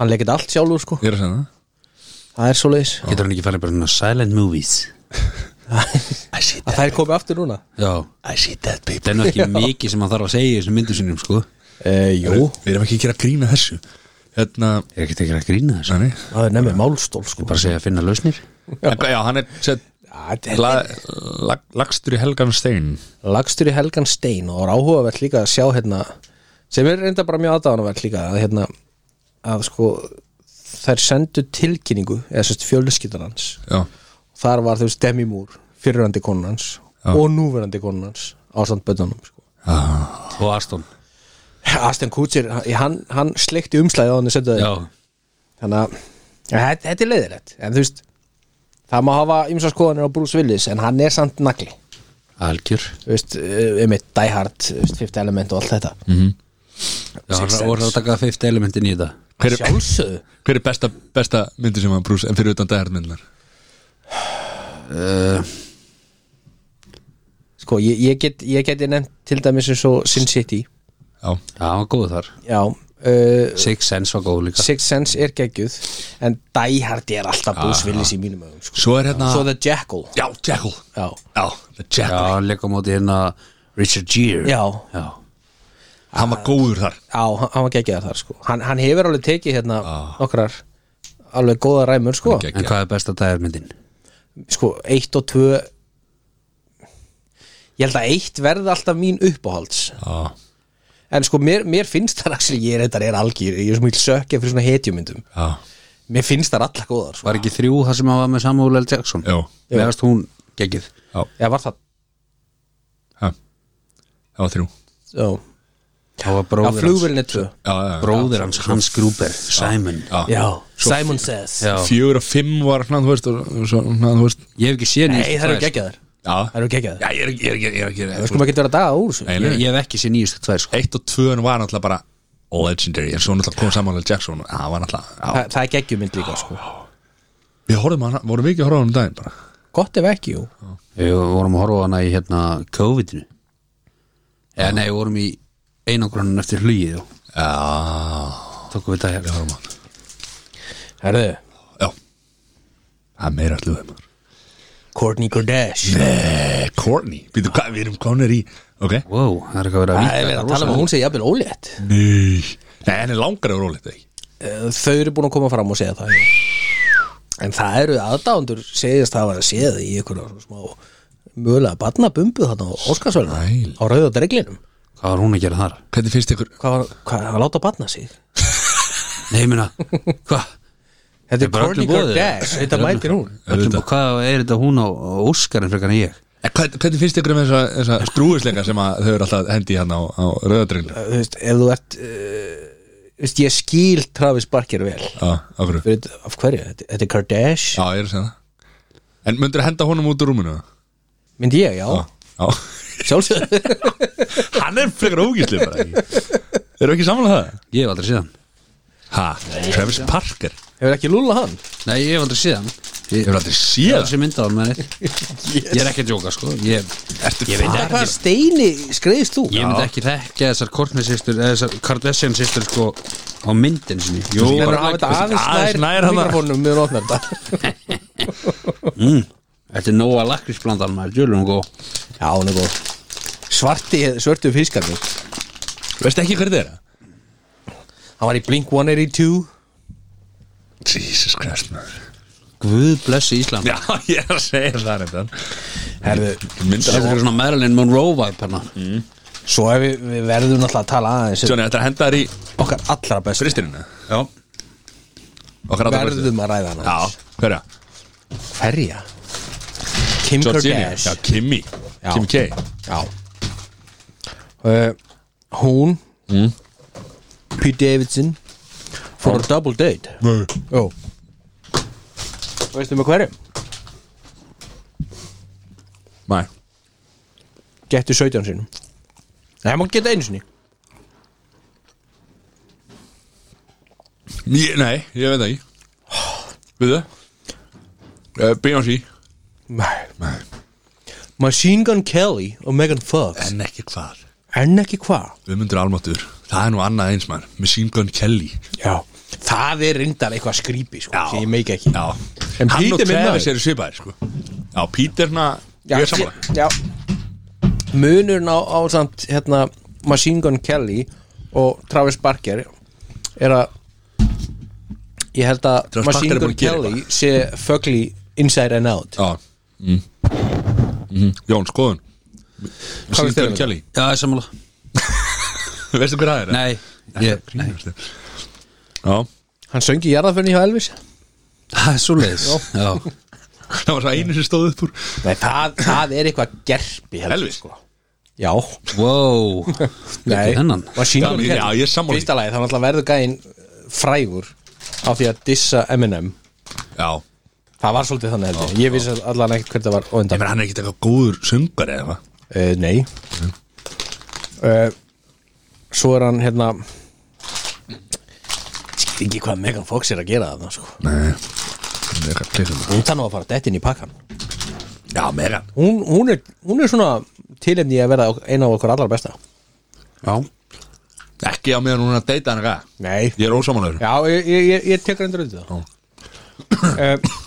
S3: Hann leikir allt sjálfur sko
S2: Ég er að segja það
S3: Það er svoleiðis
S1: Getur hann ekki farið bara svona silent movies
S2: I see
S3: Að það er komið aftur núna
S1: Já
S2: I see dead people
S1: Þetta er nú ekki mikið sem hann þarf að segja í þessum myndu sinum sko
S3: e,
S2: Eh,
S3: Jú,
S2: Við erum ekki að gera grína þessu Hérna
S1: Ég er ekki tekið að grína þessu
S2: Þannig
S3: það er nefnir málstól sko
S1: Bara að segja að finna lausnir
S2: En hvað, Já, hann er set,
S3: Já, þetta er
S2: la, lag, Lagstur í helgan stein
S3: Lagstur í Helgan Stein og er áhugavert líka að sjá hérna sem er reynda bara mjög aðdáðanavert líka að hérna að sko þær sendu tilkynningu eða sérst fjölskyldan hans
S2: Já,
S3: þar var þú veist Demi Moore fyrirrandi konun hans og núverandi konun hans ástand bötunum sko.
S1: Og Aston
S3: Aston Kutcher, hann, hann sleikti umslæði á hann
S1: Já
S3: þannig að ja, þetta- þetta er leiðilegt en þú veist það má hafa ymsa skoðanir á Bruce Willis en hann er samt nagli
S1: Algjör
S3: þú veist, eh, einmitt Die Hard þú veist, Fifth Element og allt þetta
S2: Mm.
S1: Já, hann er orðið að taka fyrst elementin í þetta
S2: hver, er-
S3: sjálfsögðu
S2: hver er besta, besta myndi sem hann brús En fyrir utan dæðarmyndunar
S1: Eh,
S3: sko, ég, ég, get, ég geti nefnt til dæmis eins og Sin City
S2: Já,
S1: Já, hann var góð þar
S3: já, uh,
S1: Six Sense var góð líka
S3: Sixth Sense er geggjuð en Die Hard er alltaf
S2: Ah,
S3: Bruce Willis í mínum ögum sko.
S2: svo er hérna
S3: svo The Jackal
S2: Já, Jekyll
S3: já,
S2: Já, the
S1: Já,
S2: Jekyll
S1: hann leik á móti hérna Richard Gere
S3: já,
S1: Já,
S2: Hann var góður þar
S3: já hann hann var geggjaðar þar sko. hann, hann hefur alveg tekið hérna nokkrar alveg góða ræmur sko.
S2: Ah. Hann er gegg-
S1: en hvað er besta dæðarmyndin?
S3: sko, eitt og tvö ég held að eitt verði alltaf mín uppáhalds
S2: Já,
S3: en sko, mér, mér finnst það actually, ég er þetta er algjör, ég er svo mjög sökja fyrir svona hetjumyndum
S2: já,
S3: mér finnst það allar góðar sko.
S1: Var ekki þrjú það sem hann var með Samuel L. Jackson?
S2: já,
S1: Mér varst hún geggið
S2: já.
S3: Já, var það
S2: Ha. það var þrjú
S3: Já,
S1: Það var
S3: já
S1: bróðir hans,
S3: flugvélinn er tvö
S2: já, já, já.
S1: bróðir hans Hans Gruber, Simon
S2: Já.
S3: Já, Simon Says
S1: Já.
S2: fjögur og fimm var svona, þú veist, og, og, svo, svona, þú veist
S1: Ég hef ekki séð
S3: Nei, það
S1: nýjustu
S3: eru
S1: tvær
S3: geggjaðar
S2: já,
S3: Það eru geggjaðar
S2: já ég er ekki, ég er ekki, ég er ekki
S3: Það sko maður getur að daga úr þessu
S2: Nei,
S1: Ég
S2: nei.
S1: ég hef ekki séð nýjustu tvær sko.
S2: eitt og tvöun var náttúrulega bara legendary, en svo náttúrulega kom Samuel L. Jackson og það var náttúrulega,
S3: Þa, Það er geggjumynd líka sko.
S2: já, við horfum að vorum við ekki að horfa á hann um daginn bara,
S3: Gott ef ekki, jú
S1: Við vorum að horfa á hana í hérna COVID-inu Eða nei, við vorum í einangrunum eftir hlugið og
S2: já
S1: tókum við það hérna. hér
S2: horfum á hann,
S3: Herðu,
S2: já það er meira alluðið maður
S3: Kourtney Kardashian
S2: Eh, Courtney, býtu hvað, við erum konir í ok,
S1: Wow, það er eitthvað verið að
S3: Það er verið að tala um að hún sé jafnvel ólétt
S2: nei nei, henni langar að róla þetta ekki
S3: Eh, Þau eru búin að koma fram og segja það jú. En það eru aðdáðundur segjast hafa séð í einhverja svona smá mögulega barnabumbu þarna á Óskarsvöldum
S2: Sæl.
S3: á rauða dreglinum
S1: Hvað var hún að gera þar?
S2: hvernig finnst ykkur,
S3: Hvað var hvað, að láta barna sig?
S1: Nei, ég meina, hvað?
S3: Þetta er
S1: bara
S3: Kourtney
S1: öllum boðið.
S3: Kardashian, þetta mætir hún
S1: Öllum,
S2: Auðvitað.
S1: hvað er þetta hún á á Óskarinn frekar en ég?
S2: eh, hvernig, hvernig finnst ykkur um þessa, þessa skrúisleika sem að þau eru alltaf hendi hann á, á rauðadrenglu
S3: Þú veist, ef þú ert uh, veist, ég skil Travis Barker vel
S2: já, Ah, af hverju,
S3: Fyrir, af hverju, þetta, þetta er Kardashian
S2: já, ég er að segja það en myndur henda honum út úr rúminu eða?
S3: myndi ég, já,
S2: já, já
S3: sjálfsögðu
S2: hann er frekar ógíslið bara Eru ekki samanlega það?
S1: Ég hef aldrei séð hann
S2: Ha, Travis Parker
S3: hefur ekki lúla hann
S1: Nei, ég hef aldrei séð hann Ég
S2: Hefur aldrei séð
S1: aldrei séð myndað hann með neitt Ég er ekki að djóka, sko Ég,
S2: Ertu
S1: ég veit
S3: hvað
S1: ekki
S3: steini skreiðist þú
S1: Ég myndi ekki þekka þessar Kortney sýstur eða þessar Kardashian sýstur sko á myndin sinni Jú,
S3: Ég er að
S1: bara-
S3: hafa þetta aðeins
S2: aðeins nær
S3: nær
S2: hann var.
S3: mikrofónum með rótnar þetta
S1: Mm. Þetta er nóga lakrísblandan maður, djúlum og góð
S3: já, hún er góð svarti, svörtu fiskarnir
S2: Veist ekki hver þetta er?
S3: hann var í Blink-182
S2: Jesus Christ maður
S1: Guð blessi Ísland
S2: Já, ég er að segja það reyndan
S3: herðu,
S1: Þetta
S2: Myndalega
S1: er svona Marilyn Monroe vibe hérna
S3: svo ef við, við verðum náttúrulega að tala aðeins um
S2: Johnny, þetta er að henda þær í
S3: okkar allra best
S2: fristininu
S1: Já
S2: Okkar allra bestu.
S3: verðum að ræða hann aðeins.
S2: Já, hverja?
S3: hverja? Kim
S2: Georgina Já,
S3: Kardashian
S2: Kimmy
S3: Já.
S2: Kim K
S3: já uh, hún Mm. Pete Davidson fór á double date
S2: Nei
S3: Jó Veistu með hverjum?
S2: Nei
S3: Gettu 17 sinum Nei, maður geta einu sinni
S2: Ég- Nei, ég veit það ekki Við þau? Uh, Beyoncé
S3: Nei
S2: Nei
S3: Machine Gun Kelly og Megan Fox
S2: En ekki hvað
S3: En ekki hvað
S2: Við myndur almáttur Það er nú annað eins maður Machine Gun Kelly
S3: Já Það er reyndar eitthvað skrýpi sko
S2: Já.
S3: sem ég meik ekki
S2: Já,
S3: En
S2: hann
S3: Pete
S2: og
S3: er minn
S2: Travis
S3: maður.
S2: eru svipaðir sko Já, Pete er svona Ég er sammála
S3: Já Munurinn á, á samt hérna Machine Gun Kelly og Travis Barker er að ég held að
S2: Travis Barker
S3: Machine
S2: er búinn
S3: Gun
S2: að gera
S3: Kelly sé fögli inside and out
S2: Já mm. Mm. Jón, skoðun
S3: Hvað
S2: Machine
S3: finnst þér
S2: Gun
S3: um
S2: Kelly
S1: Já, ég sammála
S2: Veistu hver það er?
S1: Nei, ég, nei
S2: Nei Já,
S3: Hann söngi jarðaförni hjá Elvis
S1: Það er svo leiðis Já,
S2: það var svo einu sem stóð upp úr
S3: Nei, það, það er eitthvað gerpi heldur,
S2: Elvis?
S3: sko. Já
S1: wow Ekki hennan
S3: Machine
S2: Já,
S3: Gun
S2: ég-
S3: Kelly
S2: já, ég er sammála því.
S3: Fyrsta lagi, þá náttúrulega verður gæinn frægur á því að dissa Eminem
S2: Já
S3: Það var svolítið þannig heldur Ég vissi allan ekkert hvernig það var
S2: Ég
S3: óundan
S2: meina, hann er ekkert eitthvað góður söngar eða hvað
S3: uh, Nei uh, Svo er hann hérna Ég skil ekki hvað Megan Fox er að gera þarna sko.
S2: Nei Hann er eitthvað klikum
S3: Hún þannig að fara dættin í pakkan
S2: Já, Megan
S3: hún, hún, er, hún er svona tilefni í að verða ok- eina af okkur allar besta
S1: Já,
S2: Ekki á meðan hún er að deyta hann eitthvað
S3: Nei
S2: Ég er ósamanlegur
S3: Já, ég, ég, ég, ég tekur endur auðvitað það uh,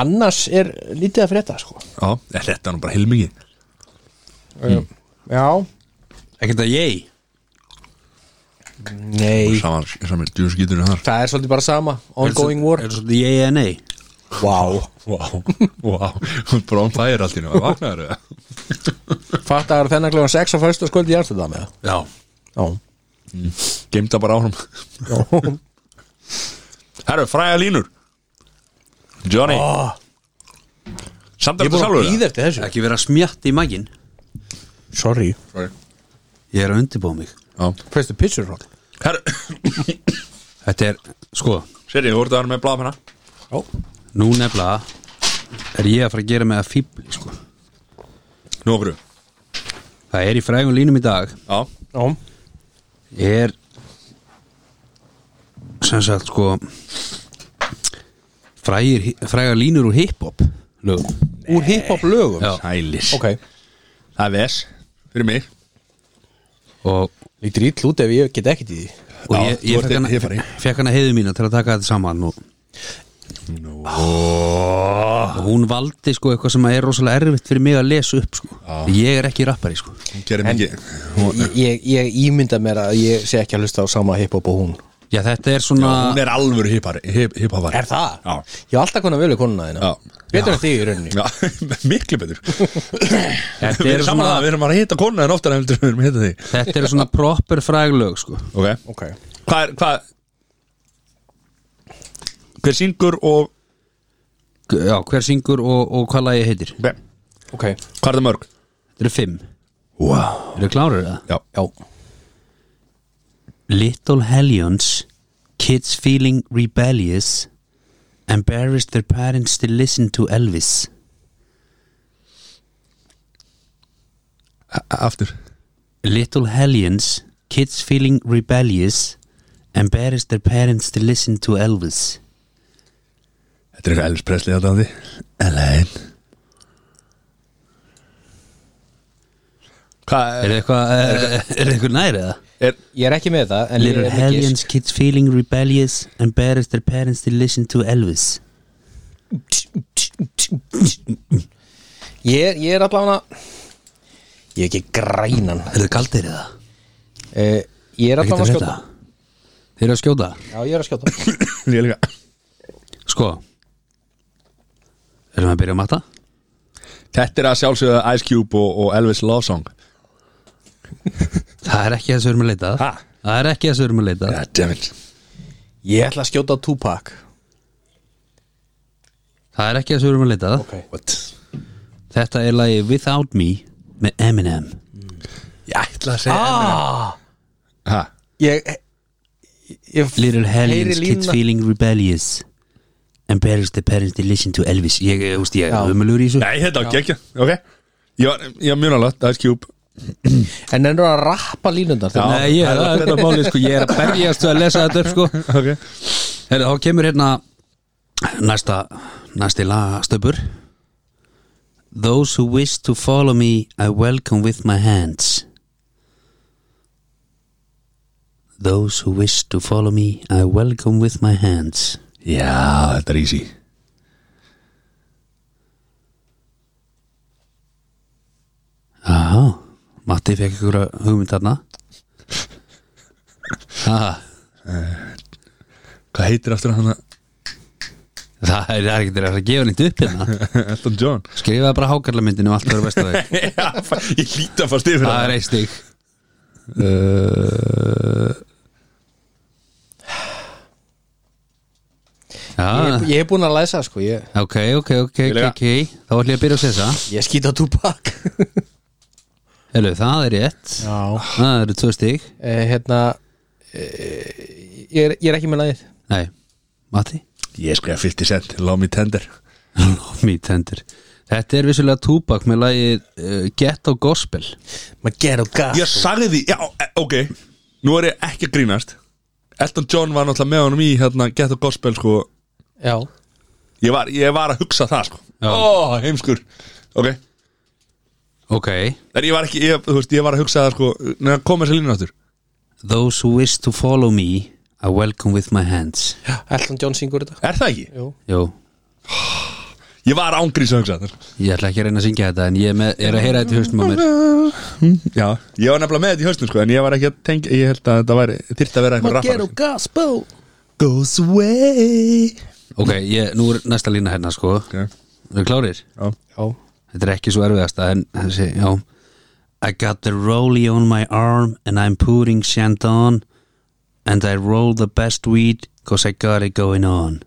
S3: Annars er lítið að frétta sko.
S2: Já, er þetta er nú bara heilmingi
S3: Mm. Eh, Já
S1: ekkert að ég
S3: Nei,
S2: Saman, saman, djú skýtur þar
S3: það er svolítið bara sama Ongoing
S1: Er
S3: war
S1: þetta svolítið ég eða nei?
S3: Vá,
S2: Vá, vá Hún er bara on fire allt í nú Vaknaður það
S3: fattar þennan kljóðan 6 á fyrstu skuldi í Amsterdam eða?
S1: Já
S3: Já
S2: Geimta bara áfram Herru, fræða línur Johnny
S3: Ó,
S2: Samt er þetta
S3: Ég er búin að
S2: sjálfur
S3: býða eftir þessu
S1: Ekki vera smjatt í maginn
S3: Sorry
S2: Sorry.
S1: Ég er að undirbúa mig
S2: Já.
S3: Fyrstu pissur roll
S2: Herru,
S1: Þetta er, sko,
S2: Siri, þú ert að vera með bláðpenna
S1: nú nefnilega er ég að fara að gera með að fíbli, sko
S2: Nú okkur Já,
S1: Það er í frægum línum í dag
S3: Já
S1: er sem sagt, sko frægir, frægar línur úr hiphop lögum
S3: Úr hiphop lögum
S1: Já.
S2: sælis
S3: Ok
S2: Það er ves, fyrir mig
S1: og,
S3: Líktir ítl út ef ég get ekkert í því
S1: og
S2: Já,
S1: ég,
S2: þú
S1: ég
S2: ert
S1: fekk hana,
S2: hifari.
S1: fekk hana heiðu mína til að taka þetta saman og,
S2: Nú.
S1: og hún valdi sko eitthvað sem er rosalega erfitt fyrir mig að lesa upp sko. ég er ekki rappari sko.
S2: Hún gerir mikið hún,
S3: Ég, ég, ég ímynda mér að ég sé ekki að hlusta á sama hiphop og hún
S1: já þetta er svona
S2: hún er alvöru hiphari hip, hiphafari
S3: Er það?
S2: Já.
S3: Ég hef alltaf konar velu konuna þína
S2: Já.
S3: Betur en þig í rauninni
S2: Já, miklu betur
S1: Þetta
S2: Við
S1: eru
S2: erum saman
S1: svona-
S2: að við erum að hitta konu en oftar en heldur en við erum að hitta þig
S1: þetta er svona proper fræglög sko.
S2: Ok,
S3: Ok
S2: hvað er, hvað Hver syngur og
S1: já, hver syngur og, og hvað lagi heitir
S2: okay.
S3: Ok
S2: Hvað er það mörg?
S1: þetta eru fimm,
S2: Wow.
S1: eru klárir það?
S2: Já,
S3: Já
S1: Little Hellions, kids feeling rebellious, embarrassed their parents to listen to Elvis.
S2: A- aftur
S1: Little Hellions, kids feeling rebellious, embarrassed their parents to listen to Elvis.
S2: Þetta er eitthvað Elvis Presley þetta á því Elaine Hvað
S1: Er
S2: er,
S1: eitthvað, eh, er eitthvað nærið það?
S2: er
S3: Ég er ekki með það En ég
S1: Little
S3: er með
S1: Hellions,
S3: gísk
S1: kids feeling rebellious, embarrassed their parents to listen to Elvis.
S3: Ég er, ég er allavega Ég er ekki grænan
S1: Er það kaldir það?
S3: eh, Ég er allavega að skjóta
S1: Þeir eru að skjóta?
S3: Já, ég er að skjóta
S2: Ég líka
S1: Sko Erum við að byrja að matta?
S2: Þetta er að sjálfsögða Ice Cube og, og Elvis Love Song
S1: Það er ekki þess að við erum að leita
S2: Ha?
S1: Það er ekki þess að við erum að
S2: Ah,
S1: leita
S2: Goddammit
S3: Ég ætla að skjóta á Tupac
S1: Það er ekki þess að við erum að leita
S3: Ok
S2: What?
S1: Þetta er lagi Without Me með Eminem
S2: Ég ætla að segja
S3: ah,
S2: ha,
S3: Ég Ég
S1: Little
S3: heyri
S1: Hellions, Kids
S3: línuna.
S1: Feeling Rebellious Embarrassed the Parents to Listen to Elvis Ég, þú veist, ég
S3: Já.
S1: er umulur í þessu
S2: Nei, þetta var gekkja Ok Ég var, ég var mjög nálægt Ice Cube
S3: En ennur að rappa línundar
S2: Já.
S1: Nei, ég, það er þetta máli, sko, ég er að berjast við að lesa þetta upp, sko
S2: Ok
S1: Heru, Þá kemur hérna næsta, næsti lagastöpur Those who wish to follow me I welcome with my hands Those who wish to follow me I welcome with my hands
S2: Já, þetta er easy
S1: Já, Matti fekk ykkur hugmynd þarna Aha,
S2: Hvað heitir aftur hann að
S1: Það er, það er ekki til að gefa nýtt upp hérna
S2: Elton John
S1: Skrifaði bara hákarlamyndinu og allt verður vestu veg
S2: Já, ég líti að fara stið fyrir
S1: Það er eitt stík
S2: það
S3: Uh,
S1: Já,
S3: Ég, ég er búin að læsa sko Ég,
S1: ok, ok, ok, ok,
S2: Vilja.
S1: ok Þá ætlum ég að byrja að segja það
S3: ég skýta á Tupac
S1: Helgu, það er rétt
S3: Já
S1: Það eru tvö stík
S3: eh, Hérna eh, ég, er, ég er ekki með lagið
S1: Nei, Matti
S2: Ég skrifa 50 cent, love me tender
S1: Mít hendur Þetta er vissulega túbak með lagi uh, Ghetto Gospel
S3: Maður ger á gas
S2: Ég sagði því, já, e- ok Nú er ég ekki að grínast Elton John var náttúrulega með honum í hérna, Get the Gospel sko.
S3: Já
S2: ég, var, ég var að hugsa það sko.
S1: Já.
S2: Ó, heimskur Ok,
S1: Ok
S2: en ég var ekki ég, þú veist, ég var að hugsa það sko, Neðan koma þessi línu áttur
S1: Those who wish to follow me I welcome with my hands
S3: Elton John syngur þetta
S2: Er það ekki?
S3: Jú
S1: Jú,
S2: Ég var ángrís að hugsa það sko.
S1: Ég ætla ekki að reyna að syngja þetta en ég er, með, er að heyra þetta í haustum á mér
S2: Uh, Já, ég var nefnilega með þetta í höstum sko, En ég var ekki að tengja, ég held að þetta væri Þyrfti að vera eitthvað sko.
S3: Maður ger á
S2: rappar
S3: gas bó
S2: Goes away
S1: Ok, ég, nú er næsta lína hérna sko
S2: okay.
S1: Eru klárir?
S2: já.
S3: Já
S1: Þetta er ekki svo erfiðasta en þessi, já I got the rollie on my arm and I'm putting shant on and I roll the best weed cause I got it going on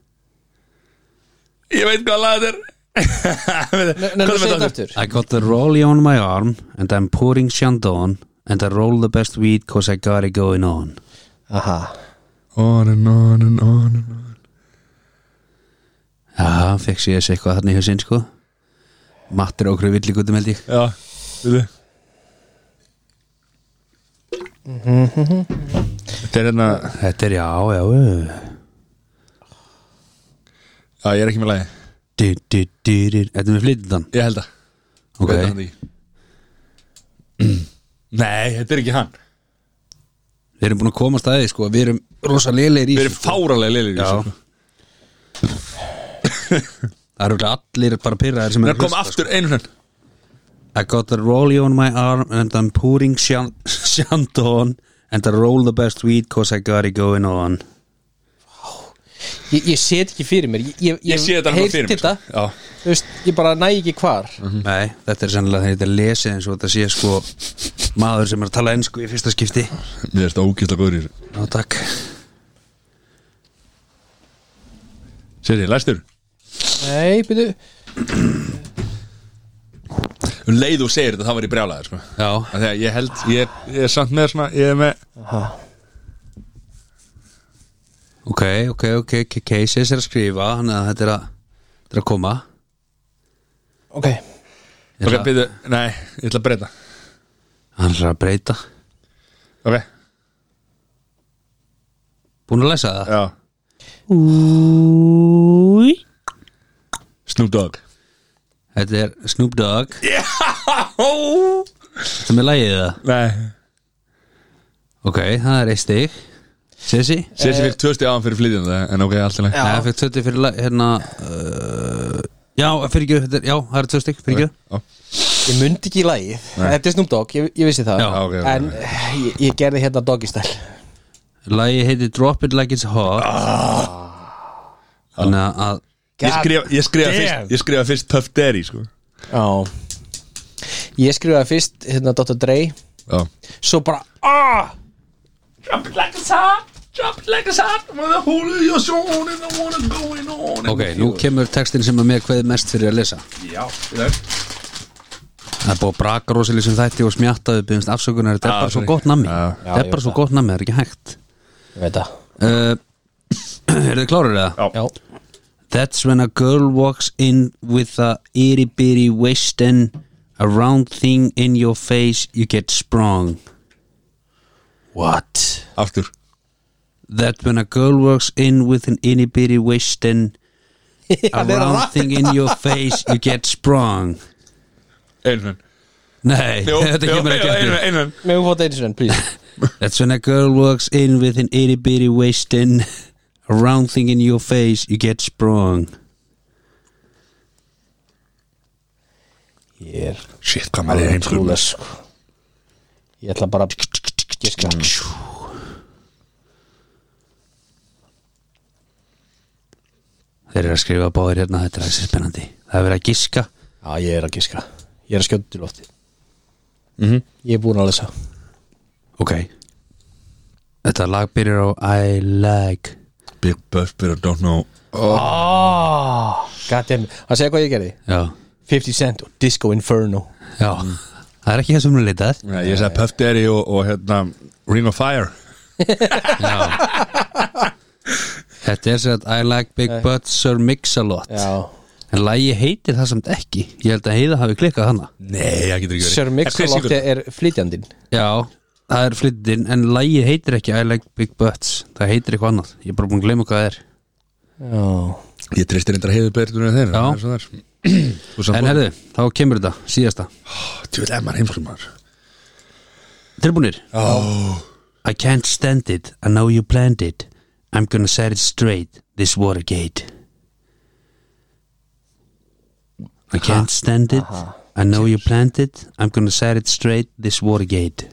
S2: Ég veit hvað lag þetta er
S3: Nei,
S2: Hvað er
S3: nei, segðu
S2: þetta?
S3: þetta aftur
S1: I got the rollie on my arm and I'm pouring Chandon and I roll the best weed cause I got it going on
S3: Aha
S2: On and on and on and on
S1: Já, fekk sér þessi eitthvað þarna í hausinn sko Mattir okkur villigutum held ég
S2: Já, við þið
S3: Mhm.
S2: Þetta er hérna
S1: Þetta er já, já ö.
S2: Já, ég er ekki með lagi
S1: du, du, du, du. Þetta er með flytindan
S2: Ég held að Ég
S1: Ok,
S2: veit það ekki. Nei, þetta er ekki hann
S1: við erum búin að komast að þið sko Við erum rosa lélegir í
S2: Við
S1: þessu, sko.
S2: erum fáralega leilir í
S1: Já.
S2: þessu sko.
S1: Það eru örugglega allir bara pyrraðir sem
S2: Það
S1: eru
S2: er kom aftur einu hrann
S1: I got the rollie on my arm and I'm pouring Chan- Chandon and I roll the best weed cause I got it going on
S3: Ég, ég set ekki fyrir mér Ég, ég,
S2: Ég sé þetta
S3: heyrt
S2: hann fyrir mér
S3: þetta,
S2: sko. Já,
S3: Þú veist, ég bara næ ekki hvar
S2: Mhm.
S1: Nei, þetta er sennilega þegar þetta er lesið eins og þetta sé sko maður sem er að tala ennsku í fyrsta skipti
S2: mér er þetta ógæsla góður í þessu
S1: Ná takk
S2: Sér ég, læstur
S3: Nei, byrju
S2: Um leið og segir þetta, það var ég brjálaður sko.
S1: Já,
S2: Af því að ég held, ég er, ég er samt með svona Ég er með,
S3: Aha.
S1: ok, ok, ok, ok, cases er að skrifa þannig að þetta er að, þetta er að koma
S3: Ok,
S1: Ég
S2: ok,
S1: ætla-
S2: byrðu, nei, ég ætla að breyta
S1: Hann er að breyta
S2: Ok,
S1: Búin að lesa það?
S2: já
S1: Úi
S2: Snoop Dogg
S1: Þetta er Snoop Dogg
S2: Ó,
S1: sem er lægið það
S2: nei
S1: Ok, það er eitt stig Sessi?
S2: Sér sem fyrir tvö stig áðan fyrir flytjandi En ok, allt í lagi
S3: Já.
S1: Nei, fyrir 20 fyrir la- hérna uh, Já, fyrir ekki, þetta er, já, það er tvö stygg, fyrir ekki
S2: Já.
S3: ég myndi ekki í lagið Þetta er Snoop Dogg, ég, ég vissi það
S1: Já,
S2: ok, ok,
S3: En eh, ég, ég gerði hérna doggy style
S1: Lægi heiti Drop It Like It's Hot
S2: Ah.
S1: Þannig að
S2: Ég
S3: God
S2: skrifa, ég skrifa
S3: damn.
S2: fyrst Ég skrifa fyrst Puff Daddy, sko
S3: Já Ég skrifaði fyrst hérna Dr. Dre
S2: Já
S3: Svo bara ah,
S2: Drop it like a top Drop it like a top With a hole in your zone And I wanna go in on
S1: Ok, nú kemur textin sem að mér kveði mest fyrir að lesa
S2: Já, það
S1: Það er búið að braka rosalega sem þætti og smjattaðu byggjumst afsökunar, þetta er
S2: Já,
S1: bara svo
S2: sorry.
S1: gott nammi
S2: Já.
S1: Þetta er bara svo gott nammi, það er ekki hægt
S3: Ég veit það
S1: uh, Er þið klárir það?
S2: Já.
S3: Já,
S1: That's when a girl walks in with a itty bitty waist and a round thing in your face you get sprung What?
S2: Aftur
S1: that when a girl walks in with an itty bitty waist and a
S3: er að
S1: round
S3: rappa.
S1: thing in your face you get sprung
S2: Einhvern
S1: Nei, þetta kemur ekki
S2: Einhvern,
S1: aftur
S2: einhvern
S3: Mér hún fótt einu sinni, please
S1: That's when a girl walks in with an itty bitty waist and a round thing in your face you get sprung
S3: Ég er
S2: Shit, hvað maður er heimskur
S3: trúlega sko Ég ætla bara að giska
S1: Þeir eru að skrifa báðir hérna, þetta er þessi spennandi Það er verið að giska
S3: Já, ég er að giska Ég er að skjóta til lofti
S2: Mhm.
S3: Ég er búin að lesa
S1: Ok Þetta lag byrjar á I like
S2: Big Puff, but I don't know
S3: oh, God damn it. Það segja hvað ég gerði
S1: Já, Mm.
S3: 50 Cent og Disco Inferno
S1: já Það er ekki það sem hún leitað
S2: Nei, ég sagði Puff Daddy og, og hérna Ring of Fire
S1: Þetta er sér að I like big butts or mix a lot
S3: Já
S1: En lægi heitir það samt ekki Ég held að heiða hafi klikkað hana
S2: Nei, það getur ekki verið
S3: Sir Mix-a-Lot er flytjandinn
S1: Já, það er flyttin En lægi heitir ekki I like big butts Það heitir eitthvað annað Ég er bara búin að gleyma hvað það er
S3: Já
S2: Ég tristir reyndar heiðu betur en þeir
S1: Já. En herðu, þá kemur þetta, síðasta
S2: Þú veit, emma heimskur maður
S1: Tilbúnir
S2: Ó,
S1: I can't stand it, I know you planned it I'm gonna set it straight This Watergate I can't stand it I know you planned it I'm gonna set it straight This Watergate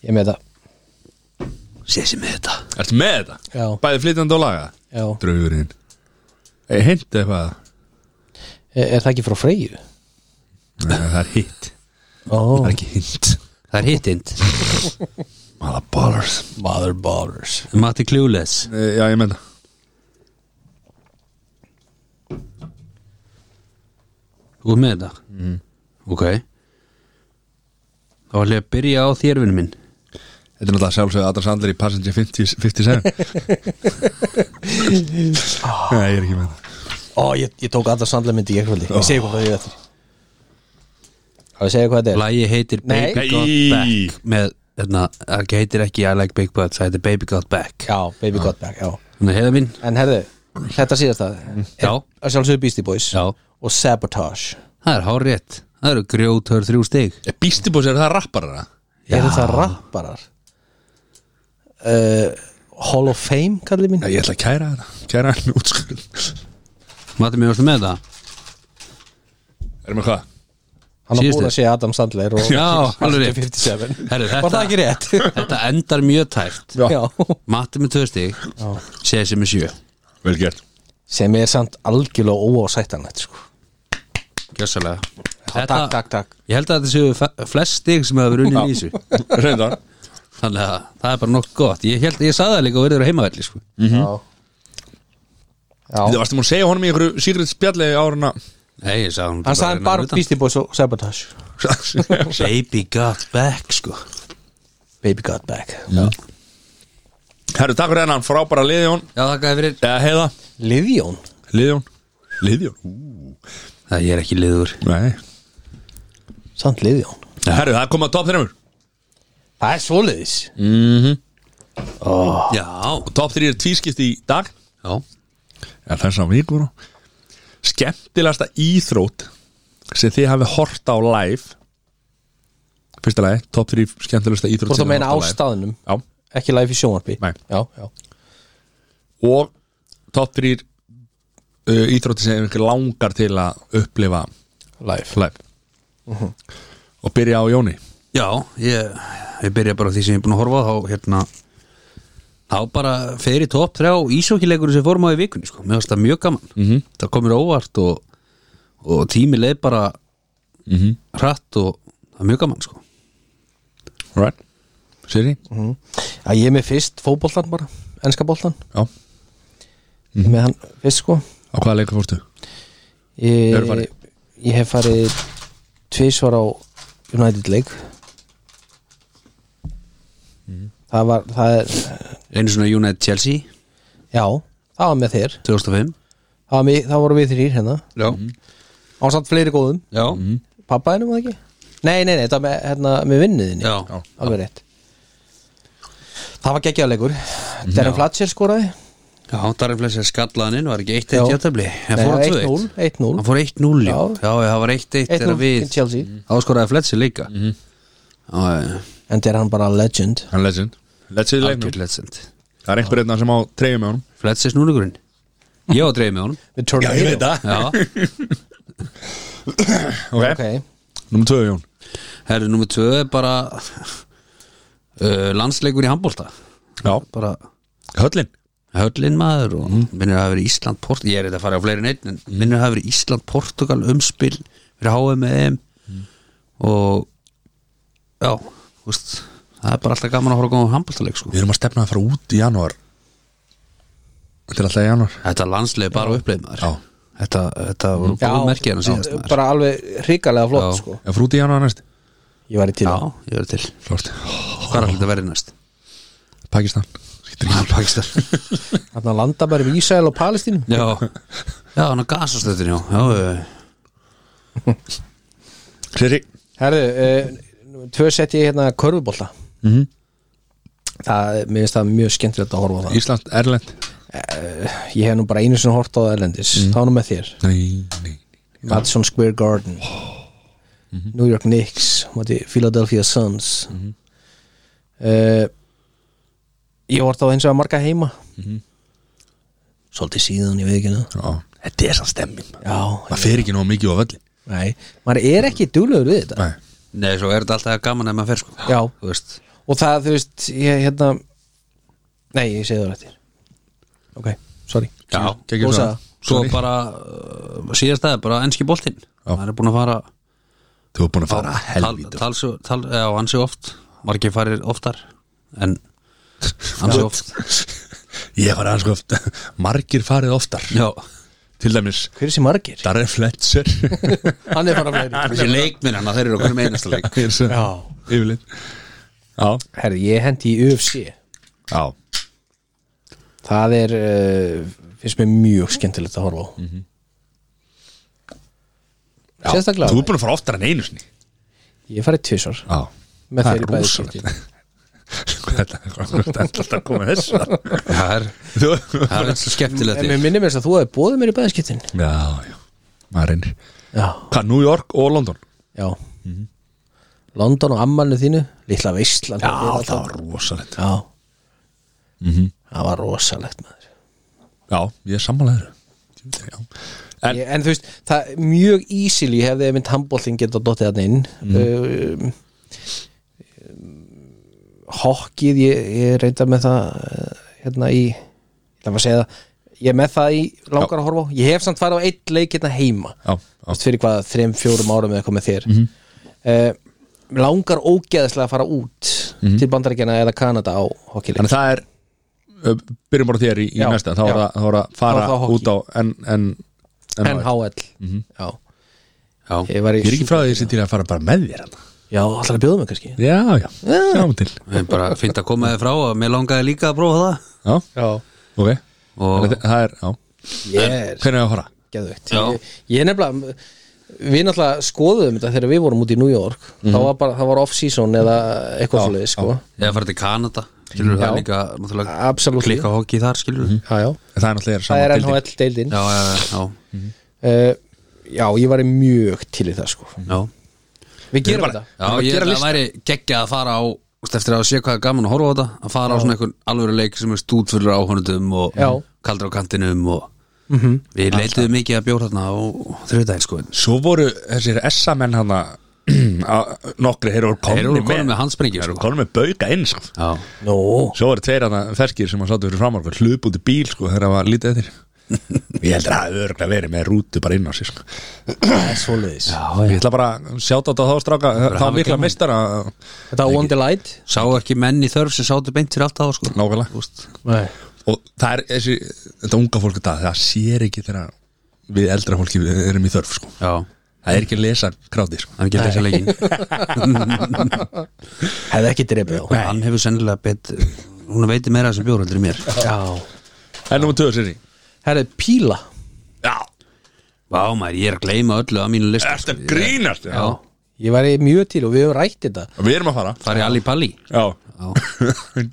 S3: Ég er með það
S1: Sér sem með þetta
S2: ertu með þetta?
S3: Já.
S2: Bæði flytjandi og laga?
S3: Já
S2: Draugurinn Ég hendi eitthvað
S3: Er, er það ekki frá Freyju?
S2: Nei, það er hitt
S3: Oh.
S2: Það er ekki hitt
S1: Það er hittind
S2: Mala ballers
S3: Mother Ballers
S2: Eh,
S1: Matti Clueless
S2: Já, ég menna
S1: þú er með þetta ok þá ætlum ég að byrja á þér vinnu minn
S2: Þetta er náttúrulega sjálfsögðu Adam Sandler í Passenger 50, 57 Nei, ég er ekki með það
S3: Ó, ég, ég tók alltaf sandlega myndi í ekkvöldi Ég segi hvað það er eftir Það ég segja hvað þetta er
S1: Lægi heitir
S3: Nei.
S1: Baby Got
S2: Nei.
S1: Back með, þarna, það heitir ekki I like big butts, það heitir Baby Got Back
S3: Já, Baby Got Back, já
S1: þannig heiða mín,
S3: En herðu, þetta síðast það
S1: Mm, Já.
S3: Að sjálfsögðu Beastie Boys
S1: Já.
S3: Og Sabotage
S1: það er hár rétt það eru grjótör þrjú stig
S2: Er Eh, Beastie Boys, er það rapparara?
S3: Eru það rapparar? Uh, Hall of Fame, kallið mín
S2: Nei, ég ætla að kæra það Kæra hann útskurð
S1: Mati mér varstu með það?
S2: Erum við hvað?
S3: Hann á
S1: síðustu.
S3: búin að segja Adam Sandler og
S1: Já, alveg rétt.
S3: 57
S1: Herru,
S3: Var það
S1: þetta,
S3: ekki rétt?
S1: þetta endar mjög tært
S2: Já.
S3: Já
S1: Mati með tvö stig, Sesi með sjö
S2: Vel gert
S3: Sem er samt algjörlega óásættanlegt sko.
S1: Gjössalega
S3: Takk, takk, takk
S1: Ég held að þetta séu fe- flest stig sem hefur unnið í þessu
S2: Reynda
S1: Þannig að það er bara nokkuð gott Ég, held, ég saði það líka og verður á heimavelli sko.
S2: Mhm.
S3: Já,
S2: Þetta
S3: já.
S2: varstum að segja honum í einhverju sírið spjalli áruna
S1: Nei, ég sagði hún
S3: Hann sagði bara Beastie Boys og Sabotage
S1: Baby got back sko.
S3: Baby Got Back
S2: Herru, takk fyrir hennan, frábæra liðjón
S1: Já, þakkaði fyrir
S2: Eða heiða,
S3: Livjón
S2: liðjón Liðjón?
S1: Það ég er ekki liður
S2: Nei
S3: Samt Livjón
S2: Herru, það er komið að top 3
S3: Það er svoleiðis
S1: Já,
S2: Top 3 er tvískipt í dag
S1: já,
S2: Já, þess að vikur Skemmtilegasta íþrótt sem þið hafi hort á live Fyrsta lagi, top 3 skemmtilegasta íþrótt
S3: Þú ert
S2: sem
S3: að
S2: þið
S3: meina á
S2: hafið horft
S3: staðnum
S2: á live.
S3: Ekki live í sjónvarpi
S2: Nei.
S3: Já, já
S2: Já, og top 3 uh, íþrótti sem ykkur langar til að upplifa
S3: Live
S2: live Og byrja á Jóni
S1: já ég, ég byrja bara á því sem ég er búin að horfa á þá, hérna, þá bara fyrir topp þrjá ísókileikur sem fórum á í vikunni sko. Mér varst það mjög gaman mm -hmm. Það komur óvart og, og tími leið bara hratt og það er mjög gaman sko.
S2: Alright Siri?
S3: Mhm. Já, ég er með fyrst fótboltan bara Enska boltan
S2: Já Mhm.
S3: mm Með hann fyrst sko
S2: Á hvaða leika fórstu?
S3: Ég,
S2: Hefurðu farið?
S3: ég hef farið tvisvar á United League
S2: Mhm.
S3: Það var, það er,
S1: Einu svona United Chelsea
S3: já, það var með þér
S1: 2005
S3: Það, var mig, það voru við þrýr hérna
S1: Já,
S3: Án samt fleiri góðum,
S1: já,
S3: pappaðinum var það ekki? Nei, nei, nei, þetta var með, hérna, með vinnuðinni
S1: já.
S3: Alveg rétt Það var geggjáleikur Darren Fletcher skoraði
S1: Já, Darren Flesser skallaðaninn var ekki 1-1
S3: Já.
S1: játtöfli
S3: Nei,
S1: Hann fór á 2-1
S3: 1-0, 1-0.
S1: Hann fór 1-0, já.
S3: Já.
S1: já, það var 1-1 þegar
S3: 1-0
S1: við
S3: til Chelsea.
S1: áskoraði Flesser líka mm -hmm.
S3: En þetta er hann bara legend
S2: Hann legend Legend í leiknum
S1: Algjör legend
S2: Það er einhver einna sem á treyjum með honum
S1: Flesser snúlugurinn Ég á dreif með honum
S3: Við turnum
S2: það
S1: Já,
S2: Ok,
S3: Ok,
S2: Númer 2 Jón
S1: herri nummer 2 er bara uh, landsleikur í handbólta
S2: Já
S1: bara
S2: Höllin
S1: höllin maður og
S2: Mm.
S1: minnir að hafa verið Ísland Port ég er þetta að fara á fleiri neitt en minnir að hafa verið Ísland Portugal umspil fyrir HM EM
S2: Mm.
S1: og já, þú veist það er bara alltaf gaman að horfa góðum handbóltaleik sko.
S2: Við erum að stefna að fara út í janúar Þetta er alltaf í janúar
S1: þetta landsleik bara uppleið maður
S2: Já.
S1: þetta, þetta voru góð merkið hann síðast maður
S3: bara alveg hrikalega flott
S1: Já.
S3: sko
S2: Ég fór út í janúar næst
S3: Ég var í til
S1: já,
S3: það
S1: ég verið til
S2: Flort
S1: hvað er alltaf verið næst?
S2: Pakistan Skýtur í-
S1: Pakistan
S3: Þannig að landa bara um Ísæl og Palestínum
S1: já, já, hann á gasastöðin já, já, já, já.
S2: Siri
S3: Herðu, uh, tvö sett ég hérna körfubolta
S2: Mhm.
S3: Það, mér finnst það mjög skemmtilegt að horfa á það
S2: Ísland, Erlend
S3: Ég hef nú bara einu sinni hort á það erlendis mm. Þá nú með þér,
S2: Nei, nei
S3: Madison Square Garden New York Knicks móti Philadelphia Suns mm Ég hort á það eins og að marga heima Svolítið síðan, ég veit ekki hana
S2: Já Þetta er sann stemming
S3: Já,
S2: Það fer ekki nóg mikið á völlin
S3: nei, maður er ekki duglegur við þetta
S2: Nei
S1: nei, svo er þetta alltaf gaman ef maður fer sko
S3: Já,
S1: þú veist,
S3: og það þú veist ég hérna nei ég segi það rættir ok, sorry
S1: já,
S2: Gekk ég frá.
S3: Og sagði-
S1: svo
S2: Sorry.
S1: bara uh, síðast það er bara ennski boltinn hann er búin að fara
S2: Þú er búin að fara
S1: tal,
S2: helvítið
S1: tal, tal, tal, já, hann sé oft margir farir oftar en hann sé oft
S2: Ég fara aðeins sko oft Margir farið oftar
S1: já,
S2: til dæmis
S3: Hver er þessi margir?
S2: Darren Fletcher
S3: Hann er bara fleiri
S1: Þessi leikminn hann, þeir eru okkur með einasta leik
S2: er svo
S3: Já
S2: yfirleitt Já,
S3: Herði, ég hendi í UFC
S2: já,
S3: Það er, uh, finnst mér mjög skemmtilegt að horfa á
S2: Mhm. já.
S3: Sérstaklega á
S2: Þú er
S3: mig.
S2: búin að fara oftar en einu sinni
S3: Ég farið tvisvar
S2: Já,
S3: Með
S2: það
S3: þeirri
S2: er
S3: bæði
S2: rosalegt Þetta er alltaf að koma þessu
S1: Það er,
S2: Þú
S1: það er eins og skemmtilegt
S3: En
S1: í.
S3: mér minnir mér þess að þú hefði bóðið mér í bæðiskittin
S2: Já, já, maður reynir
S3: Já,
S2: Hvað, New York og London?
S3: já
S2: Mhm.
S3: London og ammalinu þínu Lítla veistlan
S2: Já, það var rosalegt
S3: Já,
S2: mm
S3: það var rosalegt maður
S2: Já, ég er sammálaður Já, En-
S3: en, en þú veist, það er mjög easily hefði mynd handbóltin geta dottið hann inn
S2: Mhm.
S3: mm. um, Hokkið ehm, ég, ég reynda með það uh, hérna í það var að segja það, ég er með það í langar að horfa á, ég hef samt farið á eitt leik hérna heima,
S2: já, já,
S3: þú
S2: Mhm.
S3: veist fyrir hvað þreim, fjórum árum eða komið þér mm langar ógeðslega að fara út
S2: Mhm.
S3: til Bandaríkjana eða Kanada á hokkileik
S2: Þannig það er ö, Byrjum bara á þér í, í
S3: Já,
S2: næsta Þá er
S3: já.
S2: það þá er að fara
S3: Þá er það hockey.
S2: út á en, en,
S3: NHL Já,
S1: Já,
S3: ég var í
S2: Mhm. Ég er ekki frá því að ég sé til að fara bara með þér hann.
S3: Já, allar að bjóða mig kannski
S2: Já, já, sjáum til
S1: en bara fint að koma þið frá að mér langaði líka að prófa það
S2: Já,
S3: Já
S2: ok
S1: Og-
S2: Þannig að Það er, já
S3: Ég er
S2: Hvernig er að fara?
S3: geðveikt
S1: Já.
S3: ég, ég er nefnilega við náttúrulega skoðum þetta þegar við vorum út í New York þá var bara, það var off-season eða eitthvað
S2: Já,
S3: svoleiðis sko.
S1: Eða fara til Kanada Skilur
S3: Já. Mhm.
S1: það líka, náttúrulega
S3: Absolutely.
S1: Klikka hokki þar, skilur
S3: já, já.
S2: En Það er náttúrulega
S3: það er
S2: saman deildin.
S3: NHL deildin já.
S1: Já, já, já,
S3: já, ég var mjög til í það sko.
S1: já
S3: við gerum þetta
S1: Mhm. Já, ég held að það væri geggja að fara á þú veist, eftir að sé hvað er gaman að horfa á þetta að fara á svona einhvern alvöru leik sem er stútfullur áhörnundum og
S3: Já.
S1: kaldur á kantinum og við leituðum mikið að bjór þarna á þriðdæl sko en
S2: Svo voru þessir SA menn hann Nokkri, þeir voru
S1: þeir
S2: komni
S1: eru konum með handsprengi
S2: Þeir voru
S1: sko.
S2: komni með bauka inn sko.
S1: Já,
S3: Nú,
S2: Svo voru tveir hann ferskir sem að sátu fyrir framar Hlup út í bíl sko, þegar það var lítið eftir Ég heldur að það örgla verið með rútu bara inn á sig sko.
S3: það er svoleiðis
S2: Ég ætla bara að sjáta á þá stráka Þá
S1: hafa
S2: mikla
S1: gaman.
S2: mistara
S3: þetta var One Delight
S1: sá ekki menn í þörf sem sátu beint fyrir alltaf sko.
S2: Nákvæmlega
S1: Úst,
S3: Nei.
S2: og það er þessi, þetta unga fólk í dag, það sér ekki þegar við eldra fólki við erum í þörf sko.
S1: Já,
S2: það er ekki að lesa kráti sko.
S1: hann er ekki að lesa leikin
S3: hefði ekki drefið á
S1: Hann hefur sennilega bet hún veitir meira sem bjór heldur í mér
S3: já,
S2: en nummer 2 sér
S3: herri, píla
S2: já,
S1: Vá maður, ég er að gleyma öllu á sko. mínu listu
S2: þetta grínast já.
S3: ég var mjög til og við höfum rætt þetta
S2: við erum að fara
S1: Það er allir palli
S2: já,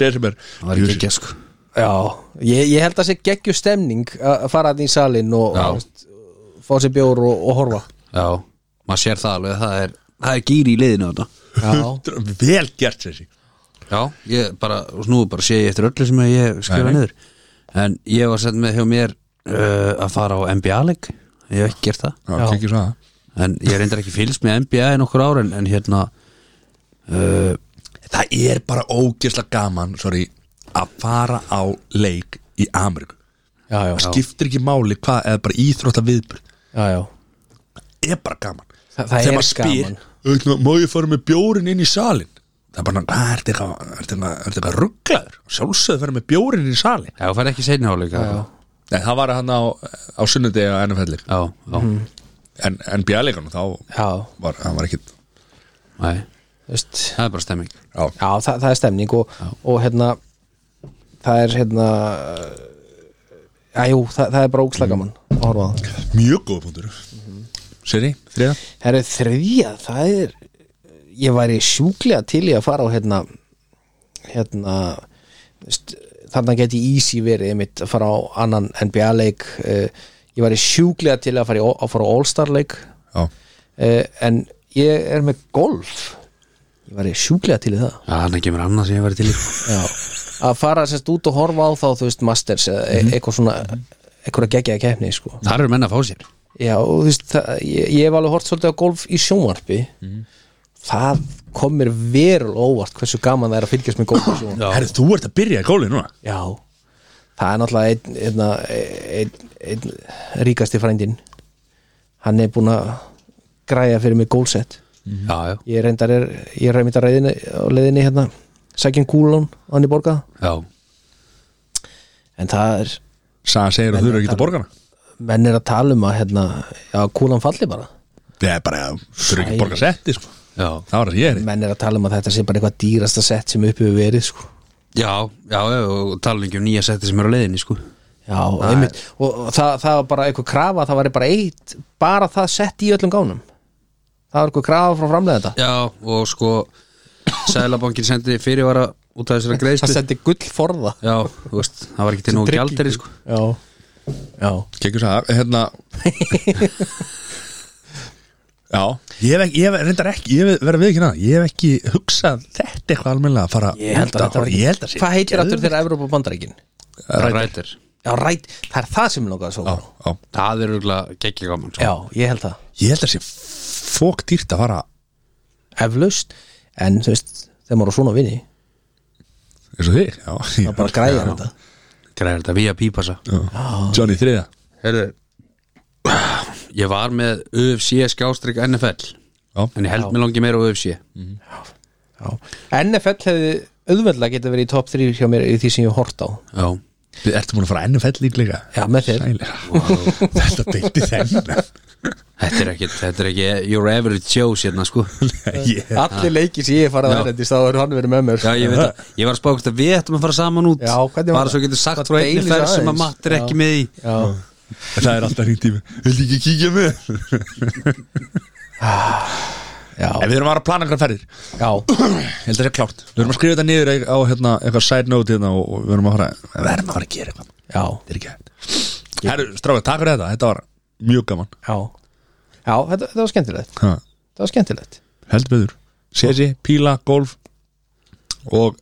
S2: December
S1: Það var ekki sko
S3: Já, ég, ég held að sé geggju stemning að fara að í salin og
S1: Já.
S3: og, veist, fá sér bjór og, og horfa
S1: Já, maður sér það alveg það er, það er gýri í liðinu þetta
S3: Já,
S2: vel gert sér
S1: Já, ég bara, og nú bara sé ég eftir öllu sem ég skrifa
S2: Nei.
S1: niður En ég var sett með hjá mér uh, að fara á NBA-leik Ég hef ekki gert það
S2: já, kikið svo að
S1: En ég reyndar ekki fylgst með NBA í nokkur ár En, en hérna,
S2: það. það er bara ógeðslega gaman sorry, að fara á leik í Ameríku
S3: já, já,
S2: það skiptir ekki máli hvað eða bara íþrótta viðbjörn
S3: já, já.
S2: er bara gaman
S3: Þa- það
S2: Þegar
S3: er
S2: maður spyr,
S3: gaman.
S2: gaman Má ég fara með bjórin inn í salin? Það er bara, hvað er þetta eitthvað Er þetta eitthvað rugglaður? Sjálfsögðu fara með bjórin inn í salin
S1: já, fær ekki seinni háleika Já,
S2: Nei, það var hann á, á sunnudegi á NFL-leik
S1: já, já,
S2: En, en bjæleikanum þá
S3: já,
S2: var, hann var ekki Já,
S1: nei,
S3: þú veist
S1: það er bara stemming
S3: Já, það, það er stemning og, og hérna það er hérna Já, jú, það, það er bara ókslega gaman að horfa á það
S2: mjög góða punktur Seri, þriða
S3: Herru, þriðja, það er ég væri sjúklega til í að fara á hérna hérna st- þarna geti easy verið einmitt að fara á annan NBA leik eh, ég væri sjúklega til að fara, í, All- að fara á All-Star leik
S2: Já,
S3: eh, en ég er með golf ég væri sjúklega til í það
S1: Já, þannig kemur annað sem ég væri til í
S3: Já. að fara sérst út og horfa á þá þú veist Masters eða e eitthvað svona eitthvað að gegja að keppni sko
S1: Þar eru menn að fá sér
S3: Já, og þú veist, það, ég, ég hef alveg hort svolítið á golf í sjónvarpi það kom mér verul óvart hversu gaman það er að fylgjast með golf í sjónvarpi
S1: Já.
S2: herri, þú ert að byrja í góli núna
S3: Já, það er náttúrulega einn einna, einn, einn ríkasti frændin hann er búin að græja fyrir mig gólsett
S1: Já, já,
S3: ég reyndar er, ég er reyndar reyðinni á leiðinni hérna, sækjum kúlun á hann í borga
S1: já
S3: en það er
S2: Sagan segir að þú eru ekki að borga hana
S3: menn er að tala um að hérna, já, kúlan falli bara
S2: það er bara, þú eru ekki að borga setti sko.
S1: já,
S2: það var það sem ég er í.
S3: menn er að tala um að þetta sé bara eitthvað dýrasta sett sem upp hefur verið sko.
S1: já, já, já og tala ekki um nýja setti sem eru á leiðinni sko.
S3: já, og, einmitt, og og það, það var bara eitthvað krafa það var bara eitt, bara það sett í öllum gánum það var eitthvað krafa frá framlega þetta
S1: já, og sko Sælabankin sendi fyrirvara út af þessara
S3: það
S1: greiðslu
S3: setti gull forða
S1: já, þú veist, það var ekki til nóg gjalderi sko.
S3: já, já.
S2: Kekjus að, hérna Já, ég hef ekki, ég hef reyndar ekki, ég hef verið að viðkynna það, ég hef ekki hugsað þetta eitthvað almennilega að fara
S3: Ég held að þetta var ekki-
S2: ég held að sé
S3: hvað heitir aftur þegar Evrópa bandaríkin
S1: rætir,
S3: já, ræt, það er það sem lókaði svo
S2: Já, já,
S1: það er örgulega geggja gaman sko.
S3: já, ég held það
S2: ég held að sé fók dýrt að fara
S3: eflaust en þú veist, þegar maður á svona vinni
S2: eins og þig, já
S3: það bara græða þetta
S1: græðir þetta via pípasa
S2: já. Johnny þriða
S1: Herðu Ég var með UFC skástrík NFL
S2: Já,
S1: En ég held mér langi meira á UFC
S3: já. NFL hefði auðveldlega geta verið í top 3 hjá mér í því sem ég hef hort á
S1: Já
S2: Við ertu múin að fara ennum fell líklega
S3: Já, með þér.
S2: Þetta beinti þennan
S1: Þetta er ekki, þetta er ekki your average Joe sérna sko
S2: Ég
S3: allir leikir sem ég hef farið
S1: Já.
S3: að erlendis þá er hann verið með mér
S1: Já ég veit að, ég var að spákast að við ættum að fara saman út
S3: Já, hvernig var
S1: Bara
S3: það?
S1: svo getur sagt
S3: Það
S1: frá einni
S3: deilir
S1: ferð sem að
S3: aðeins.
S1: Matt er
S3: Já.
S1: ekki með í
S3: Já.
S2: Það er alltaf hringt í mig Vildi ekki kíkja með En
S3: Já.
S2: við erum að fara að plana einhverja ferðir
S3: Já.
S2: Ég held að það sé klárt Við erum að skrifa þetta niður á hérna, eitthvað side note hérna og, og við erum að fara Við erum að fara að gera eitthvað
S3: Já.
S2: Þetta er ekki hægt Herru, stráka, takk fyrir þetta Þetta var mjög gaman
S3: Já. Já, þetta, þetta var skemmtilegt
S2: ha,
S3: þetta var skemmtilegt
S2: Heldur beður Sesi, píla, golf Og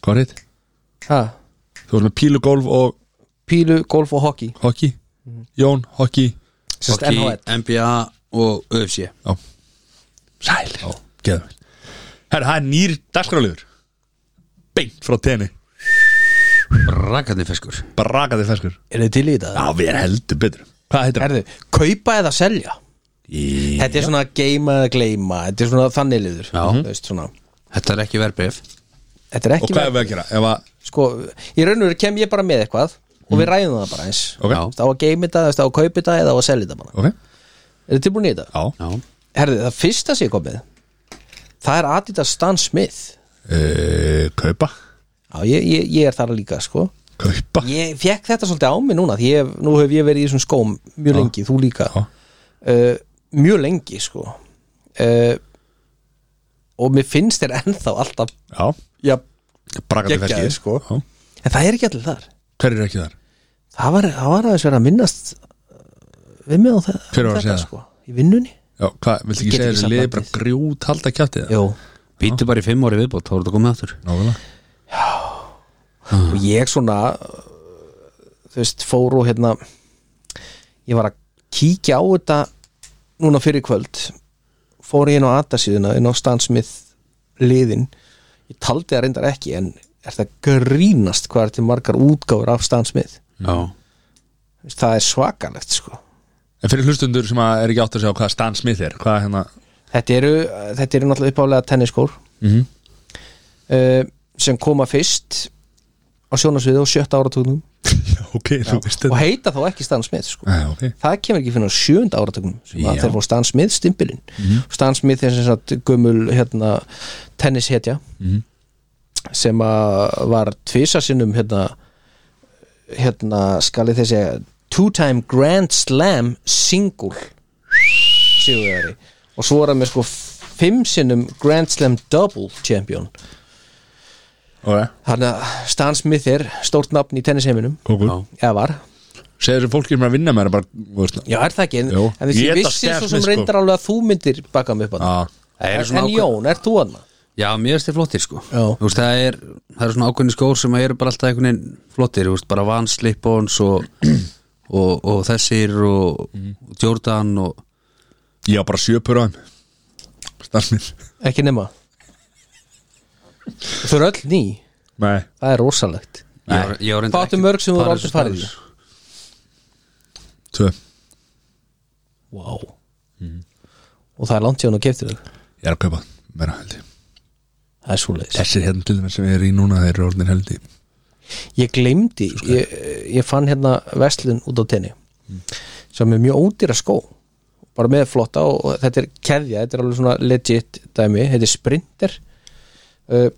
S2: Hvað er þetta?
S3: ha.
S2: Þú erum með pílu, golf og
S3: pílu, golf og hockey
S2: hockey Jón, hockey
S3: Sest
S1: Hockey,
S3: NHL.
S1: NBA og UFC
S2: Já Sæl Já, geðum við Herru, það er nýr dagskráliður Beint frá tenni
S1: Rakandi feskur
S2: Brakaði feskur
S3: er þið til í þetta?
S2: Já, við erum heldur betur Hvað heitir það?
S3: Herðu, kaupa eða selja
S2: Í-
S3: þetta er svona geima eða gleima þetta er svona þannig liður Þú veist, svona.
S1: Þetta er ekki verbrif
S3: þetta er
S2: Og
S3: ekki
S2: hvað er við að gera? Ef að
S3: sko, í raun og veru kem ég bara með eitthvað og við ræðum það bara eins
S2: Ok.
S3: Þú veist, á að geima þetta, þú veist, á að kaupa þetta eða á að selja þetta bara
S2: Ok
S3: er þið tilbúin í þetta?
S2: Já
S1: Já
S3: Herði, það fyrsta sem ég kom með það er Adidas Stan Smith
S2: uh, Kaupa
S3: já, ég, ég, ég er þar líka sko
S2: Kaupa
S3: ég fekk þetta svolítið á mig núna því ég, hef- nú hef ég verið í þessum skóm mjög lengi, þú líka
S2: Já.
S3: uh, mjög lengi sko uh, og mér finnst þér ennþá alltaf
S2: Já
S3: já,
S2: Brakaði
S3: Geggjaði,
S2: feskið
S3: sko.
S2: Já.
S3: en það er ekki allir þar
S2: Hver er ekki þar?
S3: það var, það var aðeins verið að minnast uh, við mig á það
S2: Hver var að segja það?
S3: sko, í vinnunni
S2: Já, hvað, viltu
S3: Ég
S2: ekki
S3: get
S2: segja
S3: ekki
S2: þessu
S3: sagt
S2: liði
S3: nafnið.
S2: bara grjút halda kjáttið?
S3: Jú.
S1: Býtu bara í fimm ári viðbót, þá er þetta komið aftur
S2: Návælega
S3: og ég svona uh, þú veist, fór og hérna ég var að kíkja á þetta núna fyrir kvöld fór ég inn á atasíðuna inn á Stan Smith liðin ég taldi það reyndar ekki en er það grínast hvað er til margar útgáfur af Stan Smith
S1: Já
S3: Þú veist, það er svakalegt sko
S2: En fyrir hlustundur sem að er ekki átt að sjá hvað Stan Smith er Hvað hérna
S3: þetta eru, þetta eru náttúrulega uppálega tenniskór
S2: mm -hmm.
S3: uh, sem koma fyrst á sjónasviði á sjötta áratögnum
S2: Ok, þú veist þetta
S3: og heita þá ekki Stan Smith sko.
S2: Já, ok
S3: það kemur ekki fyrir á sjönda áratögnum sem að
S2: Já. Mhm.
S3: þeir fór Stan Smith stimpilinn Stan Smith er sem sagt gömul hérna, tennishetja
S2: Mhm.
S3: sem að var tvisa sinnum hérna, hérna skalið þessi two time grand slam single sigurvegari og svo var hann með sko fimm sinnum grand slam double champion
S2: Ok,
S3: Þannig að Stan Smith er stórt nafn í tennisheiminum
S2: kókur
S1: Já.
S3: eða var
S2: Segðu þessu fólki sem er að vinna með það bara þú veist,
S3: Já, er það ekki, en,
S2: Jú.
S3: en þessi
S2: Ég
S3: ég
S2: ætla
S3: vissi
S2: Stan
S3: svo
S2: Smith,
S3: sem
S2: sko.
S3: reyndar alveg að þú myndir baka mig upp að
S2: Já,
S1: Það eru
S3: En
S1: svona
S3: en
S1: ákveð-
S3: Jón, er þú hana?
S1: Já, mér finnst þið flottir sko
S3: Já.
S1: Þú veist, það, er, það eru svona ákveðni skór sem eru bara alltaf einhvern veginn flottir þú veist, bara Van Slipons og, og, og þessir og, og Jordan og
S2: ég á bara sjöpur á þeim Stan Smith
S3: Ekki nema Þau eru öll ný,
S2: Nei
S3: það er rosalegt
S1: ég var- ég var reyndar
S3: Hvað áttu
S1: ekki-
S3: mörg sem þú
S1: farið
S3: aldrei
S1: þessu
S3: farið í?
S1: staðar.
S2: Tvö
S3: Wow
S1: Mhm.
S3: Og það er langt hjá hann að keftir þau
S2: Ég er að kaupa meira heldig
S3: Það er svoleiðis
S2: Þessir hérna til þeim sem ég er í núna þeir eru orðin heldig
S3: ég gleymdi, ég, ég fann hérna veslun út á tenni sem er mjög ódýra skó bara með flotta og, og þetta er keðja þetta er alveg svona legit dæmi þetta er sprinter uh,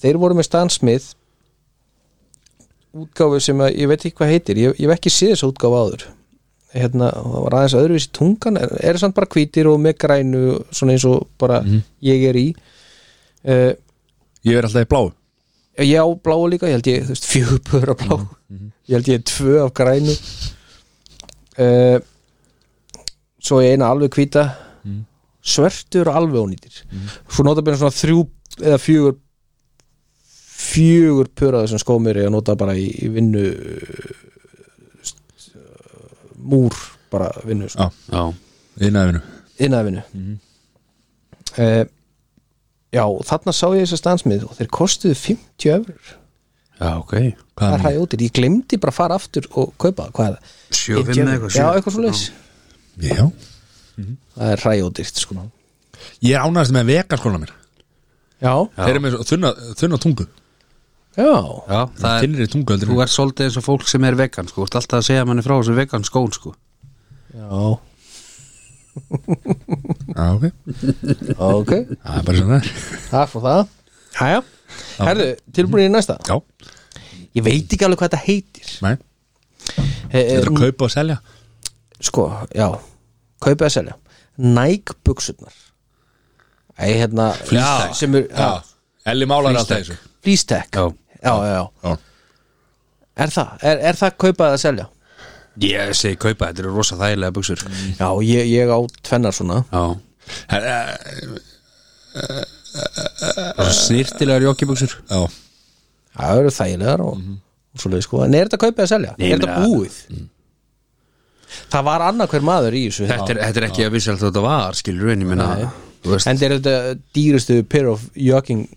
S3: þeir voru með Stan Smith útgáfu sem að, ég veit ekki hvað heitir, ég, ég hef ekki séð þessa útgáfu áður hérna, og það var aðeins öðruvísi tungan er, er samt bara hvítir og með grænu svona eins og bara ég er í uh,
S2: Ég er alltaf í bláu
S3: ég á bláu Eh, líka, ég held ég þú veist, fjögur pör af blá ég held ég tvö af grænu uh, svo ég eina alveg hvíta svörtur og alveg ónýtir svo nota byrja svona þrjú eða fjögur fjögur pör af þessum skómir ég að nota bara í, í vinnu uh, st- uh, múr bara vinnu sko
S2: Já,
S1: já,
S2: innæðinu
S3: innæfinu mm Eh, já, og þarna sá ég þess að stansmið og þeir kostuðu 50 öfrur
S1: já, ok
S3: það er
S2: Hvað er
S3: hæg útir, ég glemdi bara að fara aftur og kaupa það, hvað er það?
S1: 7-5
S3: Ég-
S1: eða eitthvað
S3: Já,
S1: sjö.
S3: eitthvað svo leys
S2: það? Já
S3: Það er hæg útir, sko
S2: Ég er ánægast með vegaskóla mér
S1: Já.
S3: Já,
S2: Þeir eru með svo þunna, þunna tungu
S3: já,
S1: Já, það er,
S2: Þinnir í tungu heldur
S1: þú
S2: en-
S1: er svolítið eins og fólk sem er vegan sko, þú ert alltaf að segja manni frá þessu vegan skón sko
S3: já
S2: Já, ok
S3: Ok,
S2: Það er bara svona það er.
S3: það fór það Hæja, herðu, tilbúin í næsta
S2: Já,
S3: Ég veit ekki alveg hvað þetta heitir
S2: nei
S3: e,
S2: Þetta er að kaupa og selja
S3: Sko, já, kaupa að selja Nike buksurnar Æ, hérna
S2: Fleece-tag.
S3: sem er, já,
S2: Elli málar alltaf þessu
S3: flýstek
S1: Já.
S3: já, já, já.
S2: Já,
S3: Er það, er, er það kaupað að selja?
S1: Ég segi kaupa, þetta eru rosa þægilega buksur
S3: Já, ég, ég á tvennar svona
S1: Já,
S2: Her- eh,
S1: snirtilegar joggibuksur
S2: já.
S3: Það eru þægilegar og, og svoleið sko En er þetta kaupið að selja?
S1: Nei,
S3: er þetta
S1: meina-
S3: búið? Það var annað hver maður í þessu hérna.
S1: Þetta er, þetta er ekki að vissi alltaf þetta var, skilur en ég minna
S3: En þetta er þetta dýrustu pair of jogging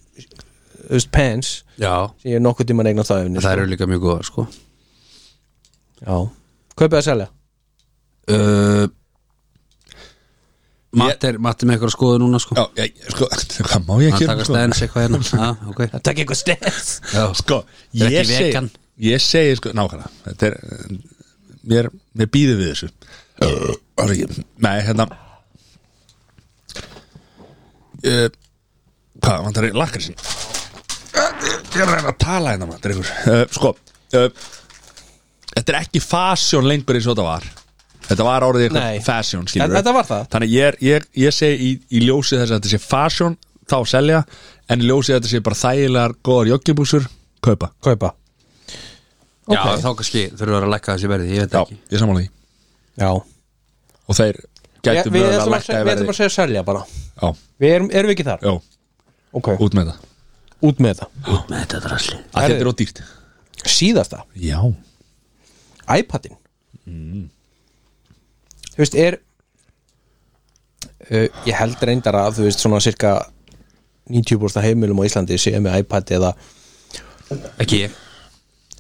S3: þú veist, pants
S1: Já,
S3: sem ég er nokkuð tíma eignan það efni
S1: það eru líka mjög góðar sko
S3: sko. Já, kaupið að selja
S1: uh, Matt er, Matt er með eitthvað að skoða núna sko
S2: já ég, sko, hvað má ég sko?
S1: Hann
S2: ekki
S1: taka stens eitthvað hérna ah, okay.
S3: Það tek eitthvað stens
S1: Já,
S2: Sko,
S1: Þetta er
S2: ég
S1: ekki
S2: segi
S1: vegan.
S2: Ég segi, sko, nákvæmlega Þetta er, eh, mér, mér býði við þessu uh, sorry, Nei, hérna uh, Hvað, vantar ég lakkar sín Ég er að reyna að tala hérna, vantar ykkur uh, Sko, uh, þetta er ekki fasjón lengur eins og þetta var Þetta var árið
S3: Nei.
S2: eitthvað fasjón, skilur
S3: En þetta var það?
S2: Þannig ég, er, ég, ég segi í, í ljósi þess að þetta sé fashion þá selja en í ljósi að þetta sé bara þægilegar góðar joggibúsur kaupa
S3: Kaupa
S1: já þá kannski þurfum við að lækka þessi verði, ég veit
S2: Já,
S1: ekki
S2: ég samanlega því
S3: Já
S2: og þeir
S3: Við,
S2: gætu
S3: við,
S2: mögulega
S3: ætlum að,
S2: lækka
S3: seg-
S2: í
S3: við ætlum
S2: verði
S3: að segja selja bara
S2: Já,
S3: Við erum, erum við ekki þar?
S2: já,
S3: Ok, út,
S2: út með það
S3: með það
S1: Út með þetta drasli
S2: að Þetta er ódýrt
S3: Síðasta,
S2: Já,
S3: iPadin Þú veist, er uh, Ég held reyndar að þú veist svona cirka 90% heimilum á Íslandi séu með iPad eða
S1: Ekki ég,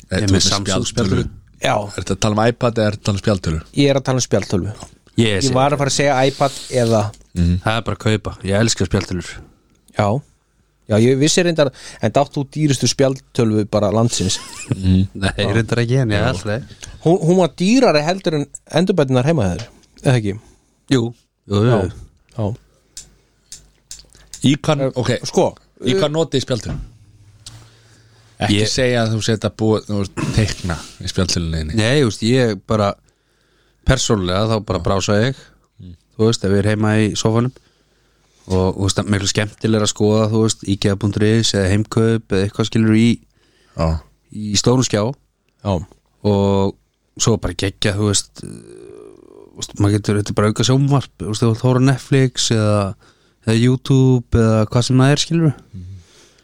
S1: ég er með Samsung spjaldtölu
S3: Já,
S2: Er þetta að tala um iPad eða er þetta að tala um spjaldtölu?
S3: ég er að tala um spjaltölvu
S1: Ég,
S3: Ég
S1: segi-
S3: var að fara að segja iPad eða
S1: það er bara að kaupa, ég elska spjaldtölur
S3: Já Já, ég vissi reyndar, en dátt þú dýrustu spjaltölvu bara landsins
S1: Nei, reyndar ekki henni, ég alltaf
S3: Hún, hún var dýrari heldur en endurbætunar heima þeir Eða ekki?
S1: Jú, jú, jú.
S3: Já
S2: Í hvað, ok,
S3: Sko,
S2: í hvað notið spjaldtölu? Ekki
S1: Ég-
S2: segja að þú setja búið, þú veist, teikna í spjaldtöluninni
S1: Nei, þú veist, ég bara persónlega þá bara brása ég þú veist, ef ég er heima í sofanum og þú veist, það er miklu skemmtilega að skoða þú veist, IKEA.is eða heimkaup eða eitthvað skilur í,
S2: Já,
S1: í stórum skjá
S3: já
S1: og svo bara geggja þú veist, eh, þú veist maður getur þetta er bara auka sjónvarp, þú veist, þú vilt hóra Netflix eða, eða YouTube eða hvað sem það er skilur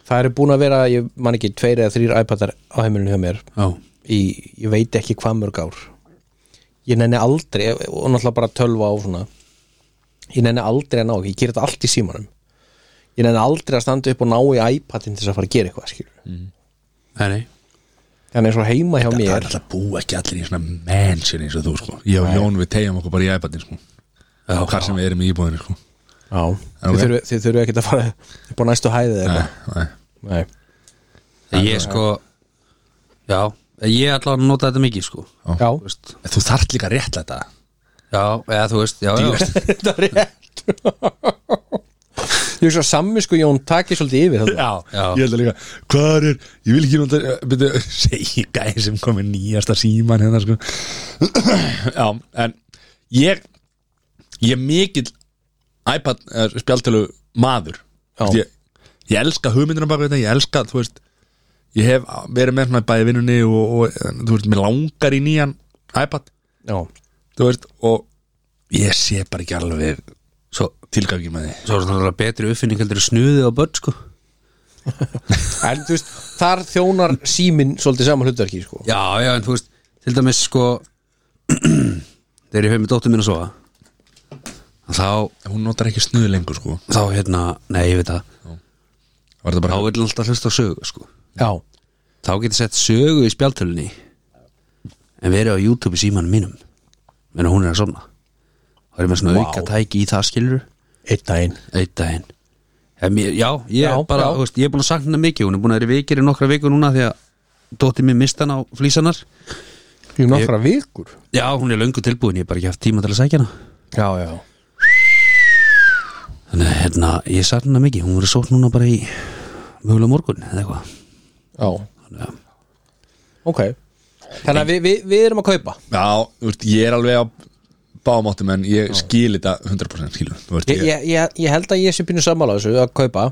S3: Það eru búin að vera, ég man ekki, tveir eða þrýr iPadar á heimilinu hjá mér
S1: Já,
S3: í, ég veit ekki hvað mörg ár ég nenni aldrei og náttúrulega bara tölva á svona ég nenni aldrei að ná, ég ger þetta allt í símanum ég nenni aldrei að standa upp og ná í iPadin til þess að fara að gera eitthvað skilur
S2: Mm.
S1: nei, nei
S3: þannig eins og heima hjá
S2: Það
S3: mér
S2: er alltaf bú ekki allir í svona mansion eins og þú sko Ég og Jón við tegjum okkur bara í iPadin sko Já, Hvar sem við erum í íbúðinu sko
S3: já,
S2: ok.
S3: þið, þurfi, þið þurfi ekki að fara upp á næstu hæðið
S2: Nei,
S3: eitthvað
S2: nei
S3: Nei.
S1: Ég sko Já, ég ætla að nota þetta mikið sko
S3: Já,
S1: Þú veist,
S2: En Þú þarft líka rétt þetta
S1: Já, eða þú veist, já, já
S3: þetta er rétt Ég er svo samvisku Jón taki svolítið yfir þarna.
S2: Já,
S1: Já.
S2: ég held að líka Hvað er, ég vil ekki nota eh, byrju, Segi gæði sem komið nýjasta síman hérna sko Já, en ég Ég er mikill iPad eh, er, spjaltölu maður
S3: Já.
S2: Þú veist, ég, ég elska hugmyndina baka þetta Ég elska, þú veist Ég hef verið með svona bæði í vinnunni og, og þú veist, mér langar í nýjan iPad,
S3: Já,
S2: þú veist og ég sé bara ekki alveg
S1: Svo,
S2: tilgangi með því
S1: svo er það betri uppfinning heldur í snuði á börn sko
S3: en þú veist, þar þjónar síminn svolítið saman hlutverki sko.
S1: Já, já, en þú veist, til dæmis sko Þegar ég hef með dóttur mín að sofa Þá,
S2: Hún notar ekki snuð lengur sko
S1: þá hérna, nei, ég veit það
S2: Var þetta
S1: Þá
S2: bara
S1: vil hann alltaf hlusta á sögu sko
S3: Já,
S1: Þá geti sett sögu í spjaltölunni En verið á YouTube í símanum mínum Menna hún er að somna Það er með svona
S3: Vá.
S1: auka tæki í það skilur
S3: einn daginn
S1: Eitt daginn en, mér- Já, ég
S3: Já,
S1: er bara,
S3: já.
S1: þú veist, ég er búin að sakna hennar mikið Hún er búin að vera í vikir í nokkra vikur núna Því að dóttir mér mista hann á flýsanar
S3: Í nokkra vikur
S1: Já, hún er löngu tilbúin, ég hef bara ekki haft tíma til að sækja hana
S3: Já, já
S1: Þannig, að, hérna, ég sakna hennar mikið Hún verið sótt núna bara í mögulega morgun eða eitthvað
S3: Já Ok Þannig að við, við, við erum að kaupa
S2: Já, þú veist, ég er alveg á bámáttum en ég skil þetta 100% skilu Þú veist,
S3: ég,
S2: ég,
S3: ég, ég, ég held að ég sé pínu sammála þessu að kaupa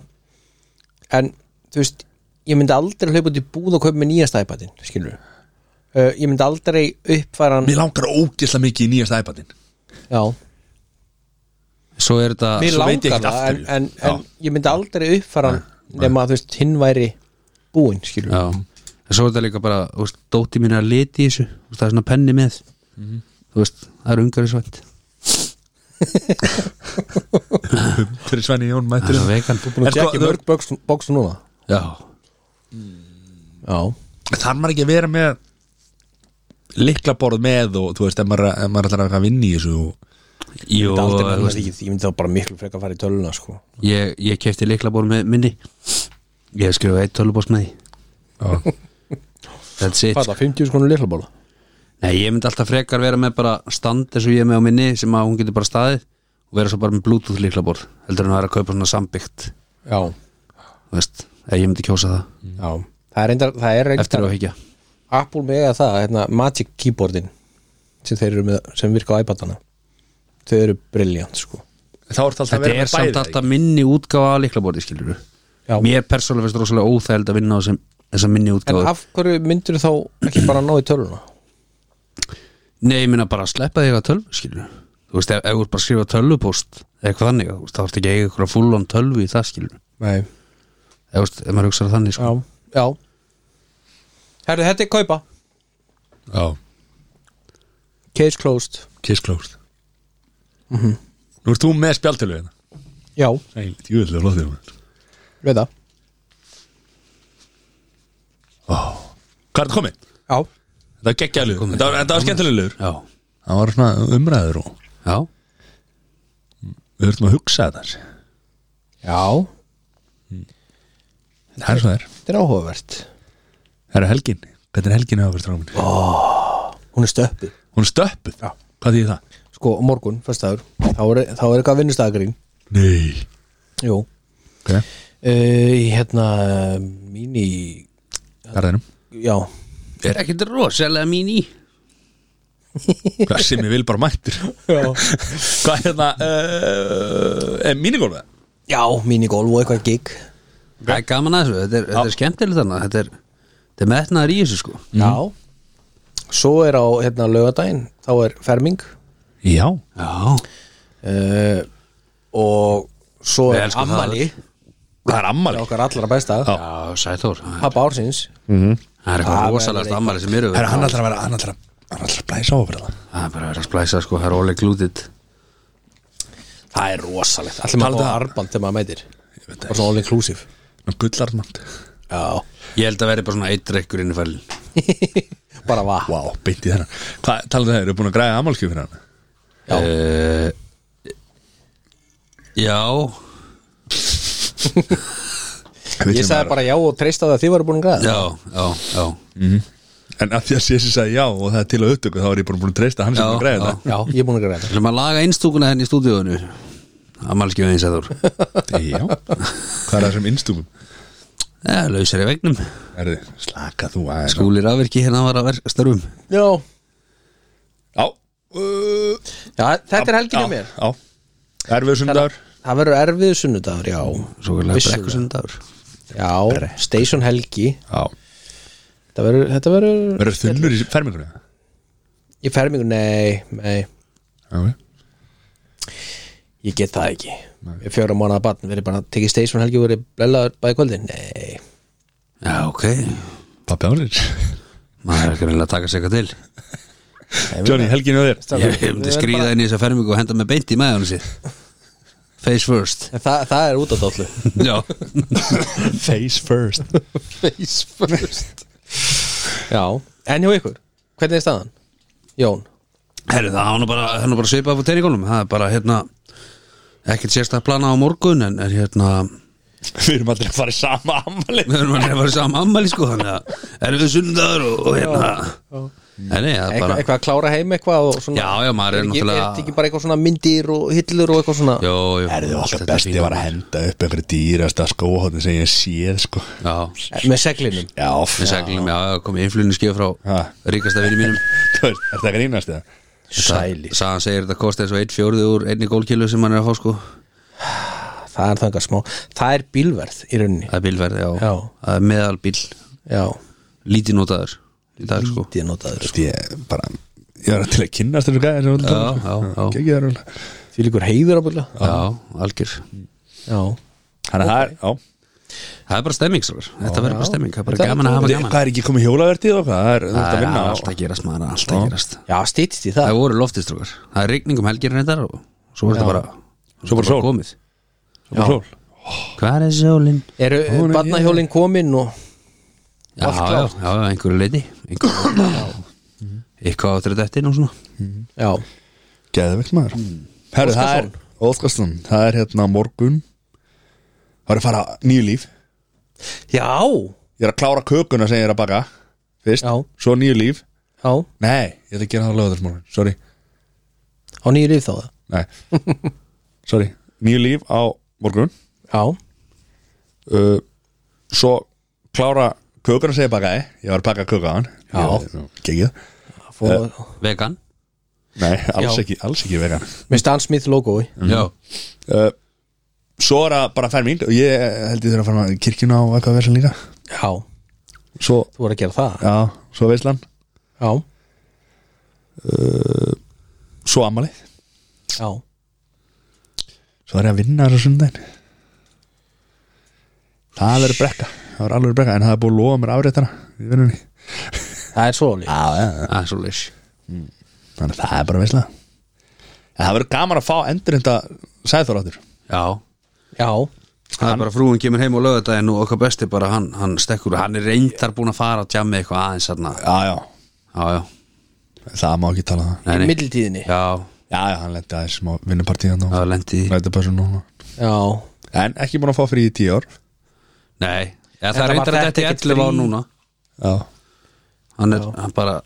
S3: En þú veist Ég myndi aldrei hlaupa út í búð og kaupa með nýjasta iPadin Skilur uh, Ég myndi aldrei uppfæra hann
S2: Mér langar ógislega mikið í nýjasta iPadin
S3: Já
S1: Svo er þetta
S3: Mér
S2: svo veit ég
S3: langar
S2: ekkert
S3: það
S2: af
S3: en,
S2: hverju.
S3: en, en ég myndi aldrei uppfæra hann Nefn að þú veist hinn væri búinn Skilur
S1: Já, en svo er þetta líka bara þú veist, dóti mín er að liti í þessu þú veist, það er svona penni með
S3: Mhm.
S1: þú veist, það er ungarisvænt
S2: Fyrir Svenni Jón
S1: það er
S2: mættur
S1: svo vegan
S3: Búin
S2: En
S3: að
S2: sko,
S3: tjekka
S2: þú-
S3: mörg bókstu, bókstu núna
S1: Já,
S3: Já
S2: Þar maður ekki að vera með liklaborð með og þú veist, ef maður, ef maður ætlar að vinna í þessu og,
S1: Jú,
S3: Ég myndi aldrei
S1: þú
S3: nenna
S1: veist,
S3: því, ég myndi þá bara miklu frekar fara í töluna sko
S1: ég, ég kefti leiklaból með minni ég skrifa eitt tölubós með því That's it
S3: Hvað það, 50 skonu liklabóla?
S1: Nei, ég myndi alltaf frekar vera með bara stand eins og ég er með á minni sem að hún getur bara staðið og vera svo bara með bluetooth leiklaból heldur en að vera að kaupa svona sambyggt
S3: Já,
S1: þú veist, eða ég myndi kjósa það
S3: já Það er reyndar, það er
S1: eftir
S3: reyndar
S1: á higgja
S3: Apple með það, hérna, Magic Keyboardin sem þeir eru með, sem virka á iPadana þau eru briljant sko
S2: Þá er það alltaf að
S1: Þetta
S2: vera
S1: er
S2: með bæði
S1: samt alltaf minni útgáfa að líklabóti skilur
S3: Já.
S1: Mér persónulega finnst rosalega óþægild að vinna á sem, þessa minni
S3: En
S1: útgáfa
S3: af hverju myndir þá ekki bara ná í töluna?
S1: Nei, ég minna bara að sleppa þig að tölvu skilur Þú veist, ef, ef þú ert bara að skrifa tölvupóst eða eitthvað þannig, þú veist, þá ertu ekki að eiga eitthvað fullon tölvu í það skilur
S3: Nei,
S1: Ef, þú veist, ef maður hugsaði þannig
S3: já,
S1: sko.
S3: já Herðu, þetta er kaupa
S2: Já,
S3: Case closed
S2: kiss closed Nú ert þú með spjaltölu hérna
S3: Já,
S2: Sæl, júðlega lóðið hún
S3: við það
S2: Hvað er þetta komið?
S3: Já,
S2: Þetta var geggjaðlugur,
S1: Komið.
S2: þetta var, þetta var skemmtilegur
S1: Já,
S2: Það var svona umræður og
S1: já,
S2: við höfum að hugsa þetta
S3: já,
S2: Það er svo það er
S3: þetta er áhugavert
S2: Það er helgin, hvernig er helgin að vera strámin?
S3: Hún er stöppið
S2: Hún er stöppuð,
S3: Já.
S2: hvað þýðir það?
S3: Sko, á morgun, fyrstaður þá er, þá er eitthvað vinnustagurinn
S2: Nei
S3: Jú
S2: okay.
S3: uh, Hérna, mini
S2: Garðinum
S3: Já,
S1: er ekkert rosalega mín í
S2: Hvað sem ég vil bara mættur
S3: já
S2: Hvað er það? Uh, er mínigólfið?
S3: Já, minigolf og eitthvað gig
S1: Það er gaman að þessu, þetta er, þetta er skemmtileg þannig Þetta er, þetta er metnaður í þessu sko
S3: Já Svo er á hérna laugardaginn þá er ferming
S2: Já
S1: Já,
S3: uh, og svo
S1: Við
S3: er
S1: elskum það
S3: ammali
S1: öll.
S2: Það er ammali
S3: það okkar allra besta
S2: Já.
S1: já sæþór Það
S3: pappa ársins
S1: er
S3: Það
S1: eitthvað
S3: er
S1: rosalega
S3: eitthvað.
S1: stammari sem eru
S2: Það er hann alltaf að vera, hann alltaf að Hann alltaf að blæsa ofur það
S1: Það er bara að vera að splæsa sko, það er ólega glútið
S3: það er rosalegt allir maður á arband þegar maður mætir
S2: Ég veit
S3: og svona all inclusive
S2: það Gullarmand
S3: Já,
S1: Ég held að vera bara svona eitt rekkur inn í fælin
S3: bara vatn
S2: Vá, beint í þennan Hvað talaðu um það, eru búin að græða ammalskjöf fyrir hann?
S3: Já.
S1: uh, Eh, Já
S3: Ég sagði bara já og treysta á það að þið varu búin að græða
S1: Já, já, já
S2: en af því að Sessi sagði já og það er til að upptöku þá er ég bara búin að treysta að hann sem
S1: Já,
S2: að græða þetta
S3: Já, ég er búin að græða
S1: Það sem að laga einstúkuna henni í stúdíóinu að malski við eins að þú
S2: Já, hvað er það sem innstúkum?
S1: ja, lausar í vegnum
S2: Erði, slaka þú aðeins
S1: skúli rafverki hérna var að verka störfum
S3: Já,
S2: Já uh,
S3: já þetta er helginu
S2: já,
S3: mér
S2: Já, erfið sundagur
S3: Það verður erfið sunnudagur, já
S1: svo kallar
S3: Vissulega.
S1: brekkusundagur
S3: Já, Station Helgi
S2: Já
S3: Þetta verður, þetta verður
S2: Verður þunnur í fermingunni?
S3: Ég fer mig, nei, nei
S2: Já, ok.
S3: Ég get það ekki Ég fjóra mánuða batn, verið bara tekið Station Helgi og verið blellaður bæði kvöldi Nei,
S1: já ok,
S2: Pappi ánir
S1: maður er ekki reynilega að taka sig eitthvað til
S2: Johnny, helginu og þér
S1: ég ég myndi skrýða inn í þessa fermingu og henda með beint í maður sér face first
S3: En það, það er út af dollu
S1: já,
S2: Face first
S3: Face first Já, en hjá ykkur, hvernig er staðan? Jón,
S1: herri það hann bara, hann bara svipað á teiningunum, það er bara hérna ekkert sérst að plana á morgun en, en hérna,
S2: Við erum allir að fara í sama ammali
S1: við erum að nefna saman ammali sko, þannig að erum við sundagur og, og hérna en nei, það er
S3: eitthvað,
S1: bara
S3: eitthvað að klára heim eitthvað og svona
S1: Já, já, maður er
S3: ekki-
S1: náttúrulega-
S3: Er þetta ekki bara eitthvað svona myndir og hillur og eitthvað svona
S1: Jó, jó,
S2: Erði
S1: allt
S2: alltaf
S1: þetta
S2: besti
S1: fína.
S2: var að henda upp einhverju dýrasta skóhóttin sem ég séð sko
S1: Já,
S3: Eh, Með seglinum
S2: Já,
S1: við seglum, já, já, komið influnni skjöf frá
S2: Ha.
S1: ríkasta vinni mínum
S2: Þú veist, er það grínast eða?
S3: Sæli
S1: Sagan segir þetta kosti eins og eitt fjórði úr einni gólkilu sem hann er að fá sko
S3: Það er þangar smá Það er bílverð í rauninni
S1: Það er bílverð, já,
S3: Já.
S1: Það er meðalbíl,
S3: Já,
S1: lítið notaður í dag sko
S3: því að nota þér
S2: Þú veist, Ég bara, ég var til að kynnast þessu gæði sem
S1: Já, já, já,
S2: Gekki það rúlega
S3: Því líkur heiður ábúrlega
S1: já, algjör
S3: Já
S2: Þannig að það er, já
S1: Það er bara stemming, svar. þetta verður bara stemming Það er bara
S3: Þetta-
S1: gaman að hafa
S2: Þi-
S1: gaman
S2: Hvað er ekki komið hjólavertið og hvað? Það er, þú ert
S1: Það
S2: að
S1: er
S2: vinna á
S1: allt að gerast, maður er allt að gerast
S3: Já, stýttist í það
S1: Það voru loftistrókar, það er rigning um helgir reyndar og svo er þetta bara
S2: Svo bara sól.
S1: komið
S2: Svo bara sól
S1: Hvað er sólin?
S3: Eru
S2: Hún er-
S3: badnahjólin komin og
S1: Já, já, já, einhverju leiti einhverju, Eitthvað áttur þetta eftir og svona
S3: Já,
S2: Geðvegt maður
S1: Mm.
S2: Herru, það er Óskarsson Það er hérna á morgun Það er að fara nýju líf
S3: já,
S2: Ég er að klára kökuna sem ég er að baka Fyrst,
S3: Já.
S2: svo nýju líf
S3: já
S2: Nei, ég ætla að gera það á lögðarsmorgun Sorry,
S3: Á nýju líf þá það
S2: nei Sorry, nýju líf á morgun
S3: Já,
S2: uh, Svo klára kökuna sem ég bakaði Ég var að baka kökaðan
S3: Já.
S2: Gekið
S3: fór
S1: Vegan?
S2: Nei, alls
S3: Já.
S2: ekki, alls ekki vegan
S3: Með Stan Smith logoi
S1: Já
S2: uh, Svo er það bara ferming Og ég held ég þurfa að fara í kirkjuna og eitthvað verðsinn líka
S3: Já,
S2: Svo,
S3: þú voru að gera það
S2: já, svo veislan
S3: Já,
S2: Svo ammali
S3: já
S2: Svo er ég að vinna þessu sundaginn Það verður brekka Það verður alveg brekka En það er búið að lofa mér afréttara í vinnunni
S3: Það er svo líf
S2: Já, já,
S1: Það er svo leys
S2: Þannig að það er bara veisla En það verður gaman að fá endur þetta Sæður áttur
S1: Já
S3: Já,
S1: Það er bara frúin kemur heim og lögadaginn og okkar besti bara hann, hann stekkur hann er reyndar búin að fara að tjammi eitthvað aðeins þarna
S2: Já, já,
S1: Já, já
S2: það má ekki tala um það
S1: Nei, nei.
S3: middiltíðinni
S1: Já,
S2: Já, já, hann lendi aðeins smá vinnupartíðan og
S1: það lendi í
S2: lendi bara svona
S3: Já,
S2: En ekki búin að fá frí í tíu ár
S1: Nei, ja, það
S3: Þetta
S1: er
S3: var
S1: reyndar að
S3: þetta
S1: þetta
S3: ekkert
S1: er 11 á
S3: frí.
S1: núna
S2: Já
S1: Hann er, hann bara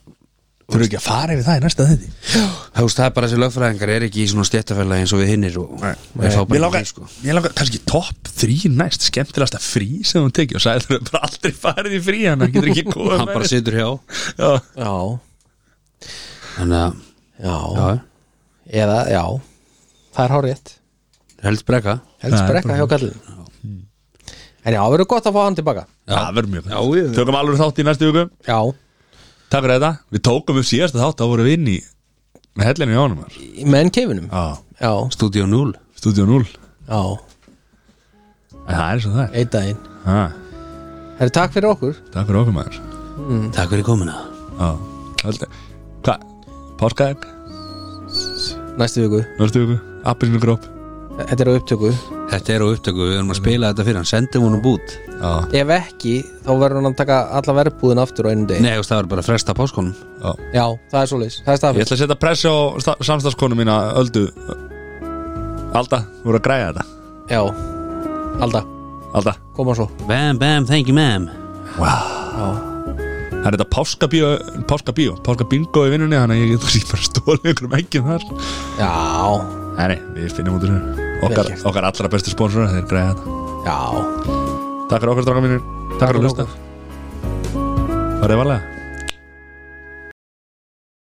S2: Þurfum ekki að fara yfir það í næsta þetta
S1: Þú veist, það er bara þessi lögfræðingar er ekki í svona stjættafæla eins og við hinnir og
S2: Nei.
S1: við fá
S2: Mér
S1: bara
S2: langar,
S1: ekki, sko.
S2: mér langar kannski topp þrý næst skemmtilegasta frí sem hún tekið og sagði þau bara aldrei farið í frí hann hann getur ekki komið
S1: Hann bara situr hjá
S2: Já.
S3: já,
S1: Þannig að,
S3: já,
S1: já,
S3: Eða, já Það er hárétt
S1: helst brekka
S3: Helst
S2: Það er
S3: brekka hjá kallin En já, verður gott að fá hann tilbaka
S2: Það verður mjög
S1: Já, ég-
S2: Tökum alveg þátt í næstu viku
S3: Já,
S2: Takk fyrir þetta Við tókum upp síðasta þátt þá vorum við inn í með hellinu í ánum þar.
S3: í menn keifinum
S2: Já,
S3: Já,
S1: Studio 0
S2: stúdíu 0
S3: já,
S2: En það er svo það er
S3: einn daginn
S2: ha,
S3: Herri, takk fyrir okkur
S2: Takk fyrir okkur maður
S1: Takk fyrir komuna
S2: Já Haldið- Hvað? Páskaðeg?
S3: Næstu viku
S2: Næstu viku? Appinu gróp?
S3: Þetta er á upptöku
S1: Þetta er á upptöku, við erum að spila þetta fyrir hann Sendum honum bút
S2: Já,
S3: Ef ekki, þá verður hann að taka alla verðbúðin aftur á einu degi
S1: Nei, þú veist, það var bara að fresta páskonum
S2: já
S3: Já, það er svoleiðis, það er
S2: Ég
S3: staðfæð
S2: ætla að setja pressi á sta- samstarfskonu mína Öldu Alda, þú voru að græja þetta
S3: Já, Alda,
S2: Alda
S3: koma svo
S1: Bam, bam, thank you, ma'am
S2: Wow Það er þetta páskabíó, páskabíó, páskabingo í vinnunni Þannig að ég get kannski bara stólið ykkur mækjum þar
S3: Já,
S2: Nei, nei, við finnum út úr þessu okkar,
S3: Vel gert.
S2: okkar allra bestu sponsor, þeir greiða þetta
S3: já
S2: Takk fyrir okkur, dráka mínir Takk fyrir að hlusta Var þið varlega?